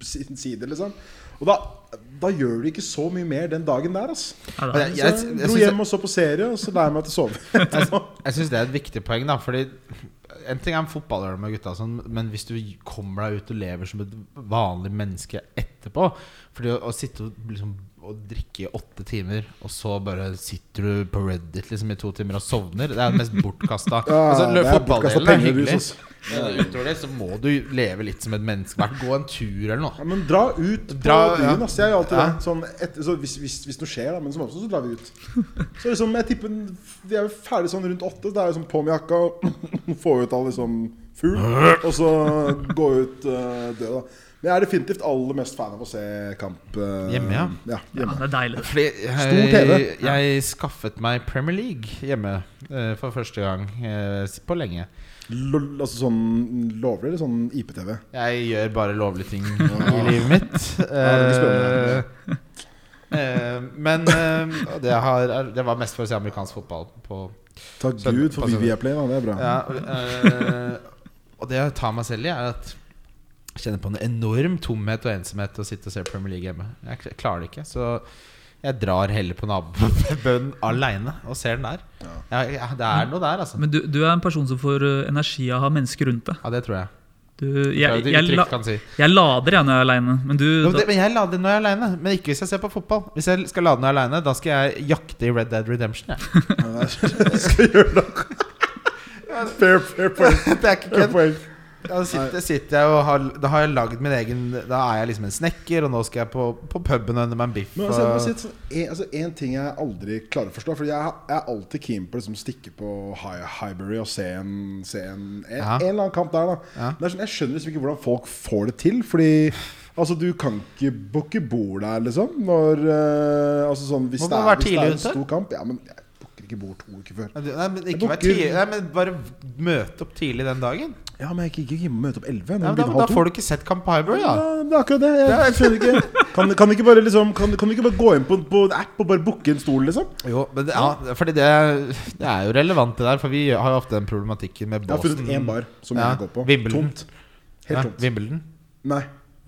si- en sider. liksom Og da, da gjør du ikke så mye mer den dagen der. Altså. Ja, Men da. Så jeg- jeg, jeg- jeg dro synes- hjem og så på serie, og så la jeg meg til å sove. <laughs> Jeg syns det er et viktig poeng, da. Fordi en ting er en fotballøl med gutta, og sånn, men hvis du kommer deg ut og lever som et vanlig menneske etterpå Fordi å, å sitte og, liksom, og drikke i åtte timer, og så bare sitter du på Reddit liksom, i to timer og sovner, det er <laughs> det mest bortkasta. Ja, <laughs> altså, lø- det er Fotballdelen bortkastet er penger, du, hyggelig, sås. men utover det så må du leve litt som et menneske. Hvert gå en tur eller noe. Ja, men dra ut på Dra- byen. ja. ass. Jeg gjør alltid Ja. det. Sånn etter, så hvis, hvis, hvis noe skjer, da, men som oftest så drar vi ut. Så sånn liksom, jeg tipper Vi er jo ferdig sånn rundt åtte. Da er det liksom på med jakka og <laughs> få ut all liksom fugl, og så gå ut eh, død. da. Men jeg er definitivt aller mest fan av å se kamp eh, Hjemme, ja. Ja, hjemme. det er deilig. Fordi Stor jeg, TV. jeg skaffet meg Premier League hjemme eh, for første gang eh, på lenge. Lo- altså sånn lovlig eller sånn IPTV? Jeg gjør bare lovlige <laughs> ting i livet mitt. det blir spennende. Eh, eh, men eh, det, har, det var mest for å se amerikansk fotball. På, Takk Søndag- Gud for på søndag. Viaplay, da. Det er bra. ja, eh, og det jeg tar meg selv i, er at jeg kjenner på en enorm tomhet og ensomhet å sitte og se Premier League hjemme. Jeg k- klarer det ikke, så jeg drar heller på nabobønnen aleine og ser den der. Ja, ja, det er noe der, altså. Men du, du er en person som får eh, energi av å ha mennesker rundt deg. Ja, det tror jeg. Du, Det er jeg, jo et jeg, uttrykk la, kan si. jeg lader jeg når jeg er aleine, men du Jo, men da, det, men jeg lader når jeg er aleine. Men ikke hvis jeg ser på fotball. Hvis jeg skal lade når jeg er aleine, da skal jeg jakte i Red Dead Redemption. Jeg. Ja, Jeg <laughs> skal gjøre det. Fair, fair point. <laughs> det er ikke Fair kødd. point. Da sitter, sitter jeg og har, da har jeg lagd min egen Da er jeg liksom en snekker, og nå skal jeg på, på puben og hente meg en biff. Men og- altså, jeg må si et sånn, en, altså, en ting jeg aldri klarer å forstå Fordi jeg, jeg er alltid keen på å liksom, stikke på Hi- Highbury og se en, se en, en, Ja. en eller annen kamp der. Da. Ja. Det er sånn, jeg skjønner liksom ikke hvordan folk får det til. Fordi altså, du kan ikke booke bord der, liksom. Når, eh, altså, sånn, hvis, Må det man er, være hvis det er tidlig en ute? stor kamp Ja, men jeg booker ikke bord to uker før. Nei, du- Nei, men ikke Jeg vær booker- tidlig. Nei, men bare møte opp tidlig den dagen. Ja, men jeg gidder ikke hjemme møte opp 11. Nei, men da, da får du ikke sett Camp Highbury, ja, da. det er akkurat det. Jeg skjønner ikke Kan, kan, vi ikke bare, liksom, kan, kan vi ikke bare gå inn på, på en app og bare booke en stol, liksom? Jo, men det, ja, fordi det, det er jo relevant, det der. For vi har jo ofte den problematikken med Jeg har båsen. funnet én bar som Ja, jeg går på. Wimbledon. Tomt. Helt ja, tomt. Wimbledon. Nei.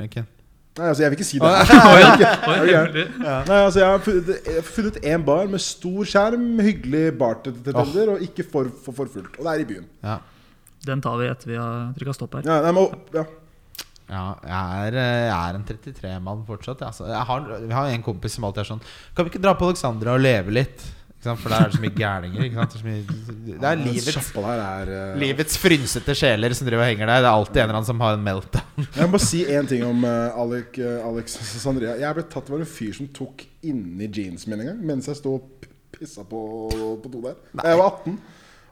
Ok. <laughs> Nei, altså, jeg vil ikke si det. <laughs> her. Oi, Er du gæren? veldig. Nei, altså, jeg har funnet- jeg har funnet én bar med stor skjerm, hyggelig bartender og ikke for, for, for fullt. Og det er i byen. Ja. Den tar vi etter vi har trykka stopp her. Ja, nei, men, ja. Ja, jeg er, eh, jeg er en 33-mann fortsatt. jeg, Altså. Jeg har, vi har en kompis som alltid er sånn Kan vi ikke dra på Alexandra og leve litt? Ikke sant? For der er det så mye gærninger. Ikke sant? Det, er så mye, det er Den livets, sjappa der er eh, livets frynsete sjeler som driver og henger der. Det er alltid en eller annen som har en meltdown. Jeg må bare si én ting om eh, Alec, eh, Alex Sandria. Jeg ble tatt Det var en fyr som tok inni jeansen min en gang mens jeg sto og p- pissa på, på do der. Da Jeg var 18.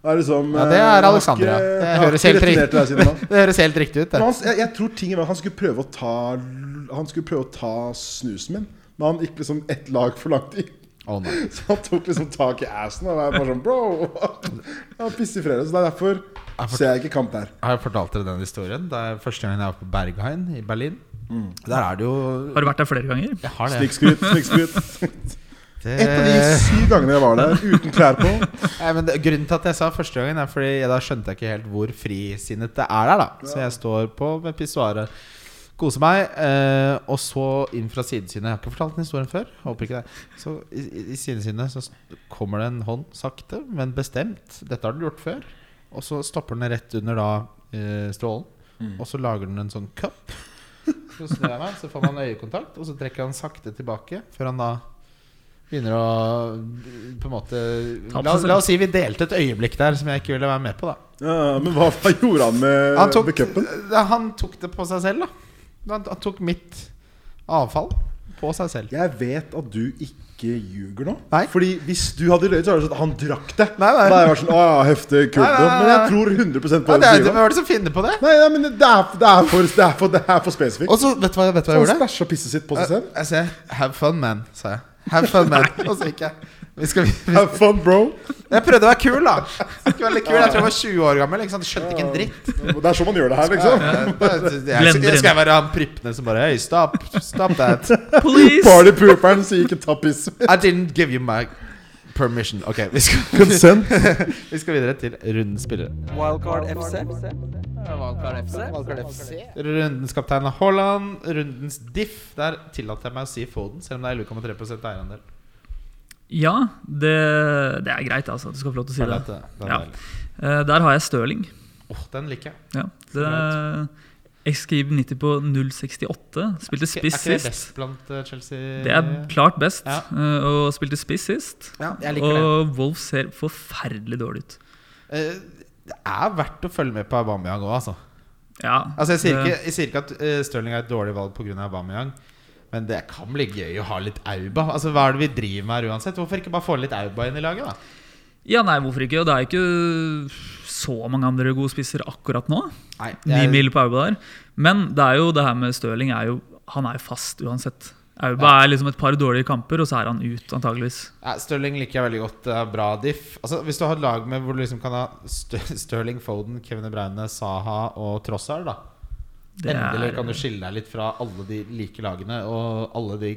Det er, liksom, Ja, det er eh, jeg har Alexandra. ikke- Det jeg har høres ikke helt returnert til deg siden da. Det høres helt riktig ut. Det. Men han, jeg, jeg tror tingen var at han skulle prøve å ta Han skulle prøve å ta snusen min, men han gikk liksom ett lag for langt inn. Å, nei. Så han tok liksom tak i assen og var bare sånn Bro! <laughs> Han pisser i fredag. Så det er derfor ser jeg ikke kamp der. Har jeg fortalt dere den historien? Det er første gangen jeg var på Berghain i Berlin. Der er det jo Har du vært der flere ganger? <laughs> Jeg har det. Eh. Snikskryt, <laughs> snikskryt. Det- Ett av de syv gangene jeg var der uten klær på. Nei, men det, Grunnen til at jeg sa første gangen, er fordi jeg da skjønte jeg ikke helt hvor frisinnet det er der. da Så jeg står på ved pissoaret, koser meg, eh, og så inn fra sidesynet. Jeg har ikke fortalt den historien før. Håper ikke det Så i, i, i sidesynet så s- kommer det en hånd, sakte, men bestemt. Dette har den gjort før. Og så stopper den rett under da eh, strålen, og så lager den en sånn cup. Så snur jeg meg, så får man øyekontakt, og så trekker han sakte tilbake før han da Begynner å på en måte Ta på la, seg selv. la oss si vi delte et øyeblikk der som jeg ikke ville være med på, da. Ja, men hva, hva gjorde han med, Han tok, med Eh, cupen? Ja, han tok det på seg selv, da. Han, han tok mitt avfall på seg selv. Jeg vet at du ikke ljuger nå. Nei. Fordi hvis du hadde løyet, så hadde det sånn at han drakk det. Nei, nei. Da hadde jeg vært sånn, Å, ja, heftig, kult. Nei, nei, nei, Men jeg nei. tror 100 på Ja, det det er, du hvem sier. nå. er det som finner på det? Nei, nei, men det er, det er for, det er for, det er for spesifikt. Sånn Og så, vet du hva, vet du hva jeg Han gjorde? spæsja pisset sitt på seg <laughs> Jeg, selv. jeg sier 'have fun, man', sa <laughs> jeg. Have fun, man. Og så gikk jeg. Vi skal, vi, Have fun, bro. jeg prøvde å være kul, da. Jeg skulle være litt kul, jeg tror jeg var 20 år gammel. Ikke sant? Skjønte ikke en dritt. Det er sånn man gjør det her, liksom. Jeg, jeg, jeg, jeg skal være han pryppende som bare Hei, stop, stop that. Police! Partypooperen sier ikke 'ta pisset'. I didn't give you my permission. Ok, vi skal, Consent. <laughs> vi skal videre til rundens spillere. Wildcard FC. Valkar FC. Rundens kaptein er Haaland. Rundens diff. Der tillater jeg meg å si Foden, selv om det er 11,3 eierandel. Ja, det, det er greit, altså. Du skal få lov til å si Det er det. lett, det. Det er Ja. deilig. Eh, Der har jeg Stirling. Åh, den liker jeg. Ja, det Xkib 90 på 0,68. Er ikke Spilte spiss det sist. best blant eh, Chelsea? Det er klart best. Ja. eh, Og spilte spiss sist. Ja, jeg liker det. Og Wolf ser forferdelig dårlig ut. Eh, Det er verdt å følge med på Aubameyang òg, altså. Ja, altså jeg, sier det- ikke, jeg sier ikke at uh, Stirling er et dårlig valg pga. Aubameyang, men det kan bli gøy å ha litt Auba. Altså Hva er det vi driver med her uansett? Hvorfor ikke bare få litt Auba inn i laget, da? Ja, nei, hvorfor ikke? Og det er ikke så mange andre gode spisser akkurat nå. Nei, Ni jeg, mil på Auba der. Men det er jo det her med Stirling er jo, Han er jo fast uansett. Auba er liksom et par dårlige kamper, og så er han ut, antageligvis. ja, Stirling liker jeg veldig godt. Det er bra diff. Altså, hvis du har et lag med hvor du liksom kan ha St- Stirling, Foden, Kevin De Bruyne, Saha og Trossard, da Det Endelig er- kan du skille deg litt fra alle de like lagene og alle de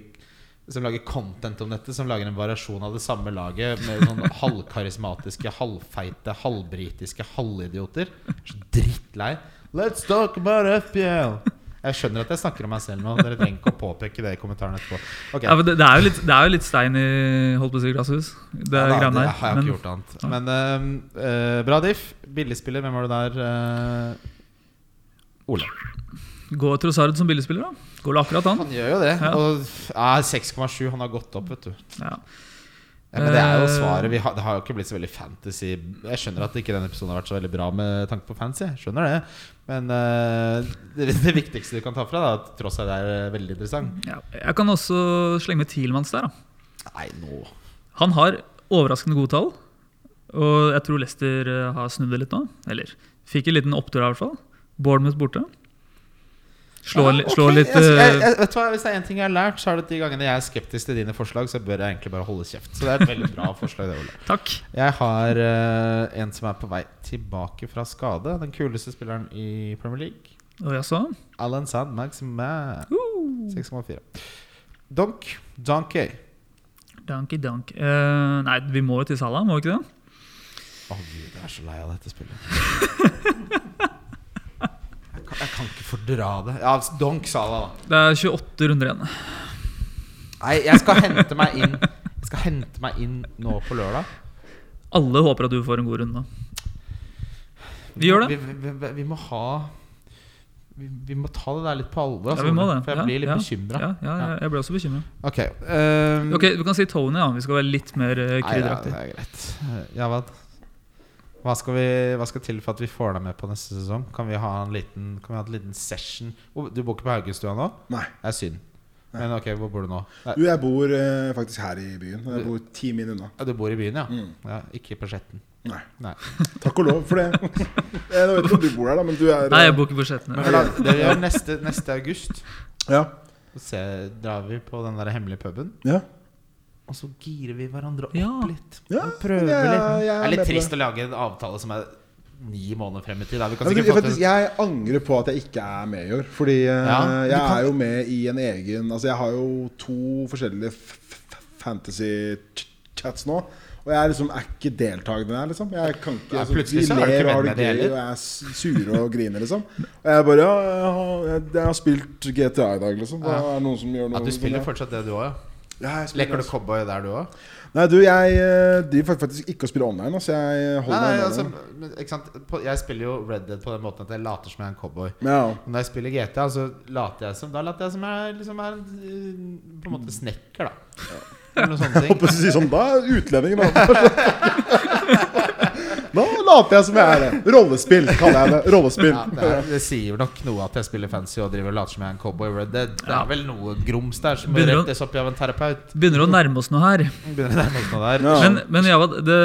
som lager content om dette, som lager en variasjon av det samme laget med <laughs> sånn halvkarismatiske, halvfeite, halvbritiske halvidioter. Jeg er Så drittlei. Let's talk about FPL! Jeg skjønner at jeg snakker om meg selv nå. Dere trenger ikke å påpeke det i kommentaren etterpå. Ok. Ja, men det, det, er jo litt, det er jo litt stein i holdt på å si, glasshus. Det Ja, er da, greiene det der. har jeg men- ikke gjort annet. Men eh, eh, bra diff. Billigspiller, hvem var det der? eh? Ole. Gå Trossard som billigspiller, da. Går det akkurat an? Han gjør jo det. Ja. Og ja, 6,7. Han har gått opp, vet du. Ja. Ja, men det er jo Eh, svaret. Vi har, det har jo ikke blitt så veldig fantasy Jeg skjønner at ikke denne episoden har vært så veldig bra med tanke på fancy. Jeg skjønner det Men eh, det, det viktigste du kan ta fra, da, at tross alt det er eh, veldig interessant Ja. Jeg kan også slenge med Thielmans der. Da. Nei, nå Han har overraskende gode tall. Og jeg tror Leicester eh, har snudd det litt nå. Eller fikk en liten opptur, i hvert fall. Bournemouth borte. Slå, li- slå Ok, litt jeg, jeg, eh, jeg, Vet du hva, Hvis det er én ting jeg har lært, så er det at de gangene jeg er skeptisk til dine forslag, så bør jeg egentlig bare holde kjeft. Så det er et veldig bra forslag, det, Ole. Takk. Jeg har eh, en som er på vei tilbake fra skade. Den kuleste spilleren i Premier League. Og jeg så Alan Sand, Maximan. 6,4. Donk. Donkey. Donkey donk. Eh, nei, vi må jo til Salah, må vi ikke det? Å gud, jeg er så lei av dette spillet. jeg, kan, jeg kan ikke fordra det. Ja, donk sa det, da. Det er 28 runder igjen. Nei, jeg skal hente meg inn Jeg skal hente meg inn nå på lørdag. Alle håper at du får en god runde. Vi gjør det. Vi, vi, vi, vi må ha vi, vi må ta det der litt på alvor. Ja, altså, vi må det. For jeg Ja, blir litt ja, bekymra. Ja, ja, ja, jeg ble også bekymra. Ok. ehm, Ok, du kan si Tony, da. Vi skal være litt mer eh, nei, ja, det krydderaktig. er greit. Ja, hva, hva, skal vi, hva skal til for at vi får deg med på neste sesong? Kan vi ha en liten, kan vi ha en liten session? Hvor- Du bor ikke på Haugenstua nå? Nei. Det er synd. Men ok, hvor bor du nå? Nei, Du, jeg bor eh, faktisk her i byen. Jeg bor ti min unna. Ja, Du bor i byen, ja? Mm. ja ikke på Skjetten. Nei. Nei. Takk og lov for <laughs> det. Jeg vet ikke om du bor der, da, men du er eh, Nei, jeg booker budsjettene. Men det gjør neste, neste august. Ja. Så ser- drar vi på den der hemmelige puben, ja. og så girer vi hverandre opp Ja. litt. Ja, og prøver jeg- litt. jeg er det er med litt på trist å lage en avtale som er ni måneder frem i tid. Da. Vi kan Ja, men sikkert du, få faktisk, til jeg angrer på at jeg ikke er med i år. Fordi eh, Ja, men du jeg kan- er jo med i en egen Altså Jeg har jo to forskjellige f- f- fantasy-chats nå. Og jeg er liksom er ikke deltakende der, liksom. Jeg kan ikke, Ja, altså, plutselig vi så er du ikke ler og har venn det med de gøy, heller. og jeg er s- sure og griner, liksom. Og jeg bare Ja, jeg har, jeg, jeg har spilt GTA i dag, liksom. Da er det noen som gjør noe at du med spiller det. fortsatt det, du òg? Ja. ja, jeg spiller, Leker du altså. cowboy der, du òg? Nei, du, jeg eh, driver faktisk ikke og spiller online. Altså, jeg holder meg unna Altså, det. men, ikke sant? På- jeg spiller jo Red Dead på den måten at jeg later som jeg er en cowboy. Ja. Og Når jeg spiller GTA, så later jeg som Da later jeg som jeg liksom er eh, på en måte snekker, da. Eller noen sånne Jeg <laughs> ting. holdt på å si sånn Da er utlendingen da. <laughs> Nå later jeg som jeg er det. Rollespill kaller jeg det. Rollespill. Ja, det, er, det sier nok noe at jeg spiller fancy og driver og later som jeg er en cowboy. i Red Dead. Det er vel noe grums der som bør Begynner å- rettes opp i av en terapeut. Begynner å nærme oss noe her. Begynner det noe sånt der Ja. Men, men ja, det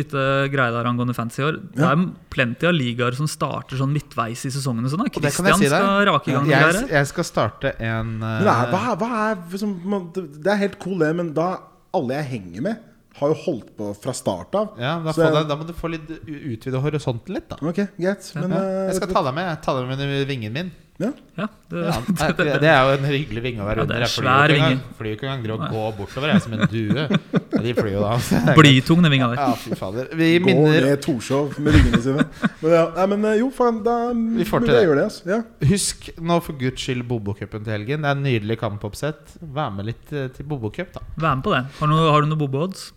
lite greia der angående fantasy i år Det er plenty av ligaer som starter sånn midtveis i sesongen. og Sånn, da. Og det kan jeg Christian si deg. skal rake i gang det Jeg, der. jeg skal starte en Men det, er, hva, eh, er- hva er, liksom, man, det er helt cool, det, men da alle jeg henger med, har jo holdt på fra start av. eh, ja, da, Så får jeg- deg- da må du få litt u- utvide horisonten litt, da. Ok, greit. Men Ja, eh, jeg skal ta deg med jeg tar deg med under vingen min. ja. Ja, det, Ja, det, det er jo en hyggelig vinge å være Ja, det er under. Jeg flyr jo svær ikke engang- vinge. flyr jo ikke engang til å gå bortover, jeg, som en due. Ja, de flyr jo da. Blytung, den vinga der. Ja, fy fader. Vi Gå minner ned Torshov med ringene sine. Men, ja, nei, men eh, jo, faen, da Vi får til men jeg det. Gjør det altså. ja. Husk nå for guds skyld Bobokupen til helgen. Det er en nydelig kampoppsett. Vær med litt eh, til Bobokup, da. Vær med på det. Har du, noe- har du noe bobo-odds?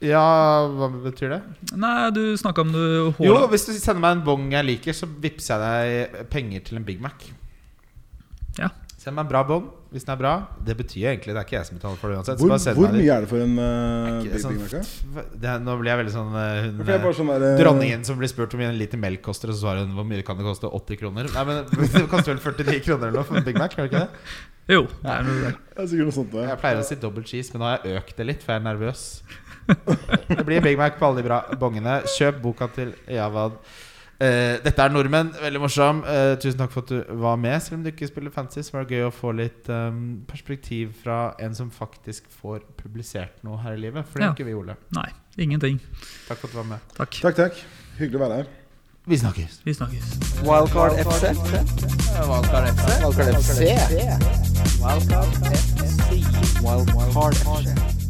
Ja, hva betyr det? Nei, du snakka om du Jo, Haaland. hvis du sender meg en bong jeg liker, så vippser jeg deg penger til en Big Mac. Ja. Send meg en bra bong hvis den er bra. Det betyr jo egentlig det er ikke jeg som betaler for det uansett. Hvor, så bare send hvor meg mye er det for en det. uh, Ikke Big sånn- Big Mac? da? det er- nå blir jeg veldig sånn eh, hun, For jeg er bare sånn der, eh, eh, Dronningen som blir spurt hvor mye en liter melk koster, og så svarer hun hvor mye kan det koste? 80 kroner? Nei, men <laughs> Det koster vel 49 kroner eller noe for en Big Mac? Gjør det ikke det? Jo, det er noe der. Det er sikkert noe sånt. da. Jeg pleier å si double cheese, men nå har jeg økt det litt, for jeg er nervøs. Det blir Big Mac på alle de bra bongene. Kjøp boka til Javad. Eh, dette er nordmenn. Veldig morsom. Eh, tusen takk for at du var med. Selv om du ikke spiller fantasy, så var det gøy å få litt eh, perspektiv fra en som faktisk får publisert noe her i livet. For det Ja. gjør ikke vi, Ole. Nei, ingenting. Takk for at du var med. Takk. Takk, takk. Hyggelig å være her. Vi snakkes. Vi snakkes. Wildcard FC. Wildcard FC. Wildcard FC. Wildcard FC. Wildcard FC.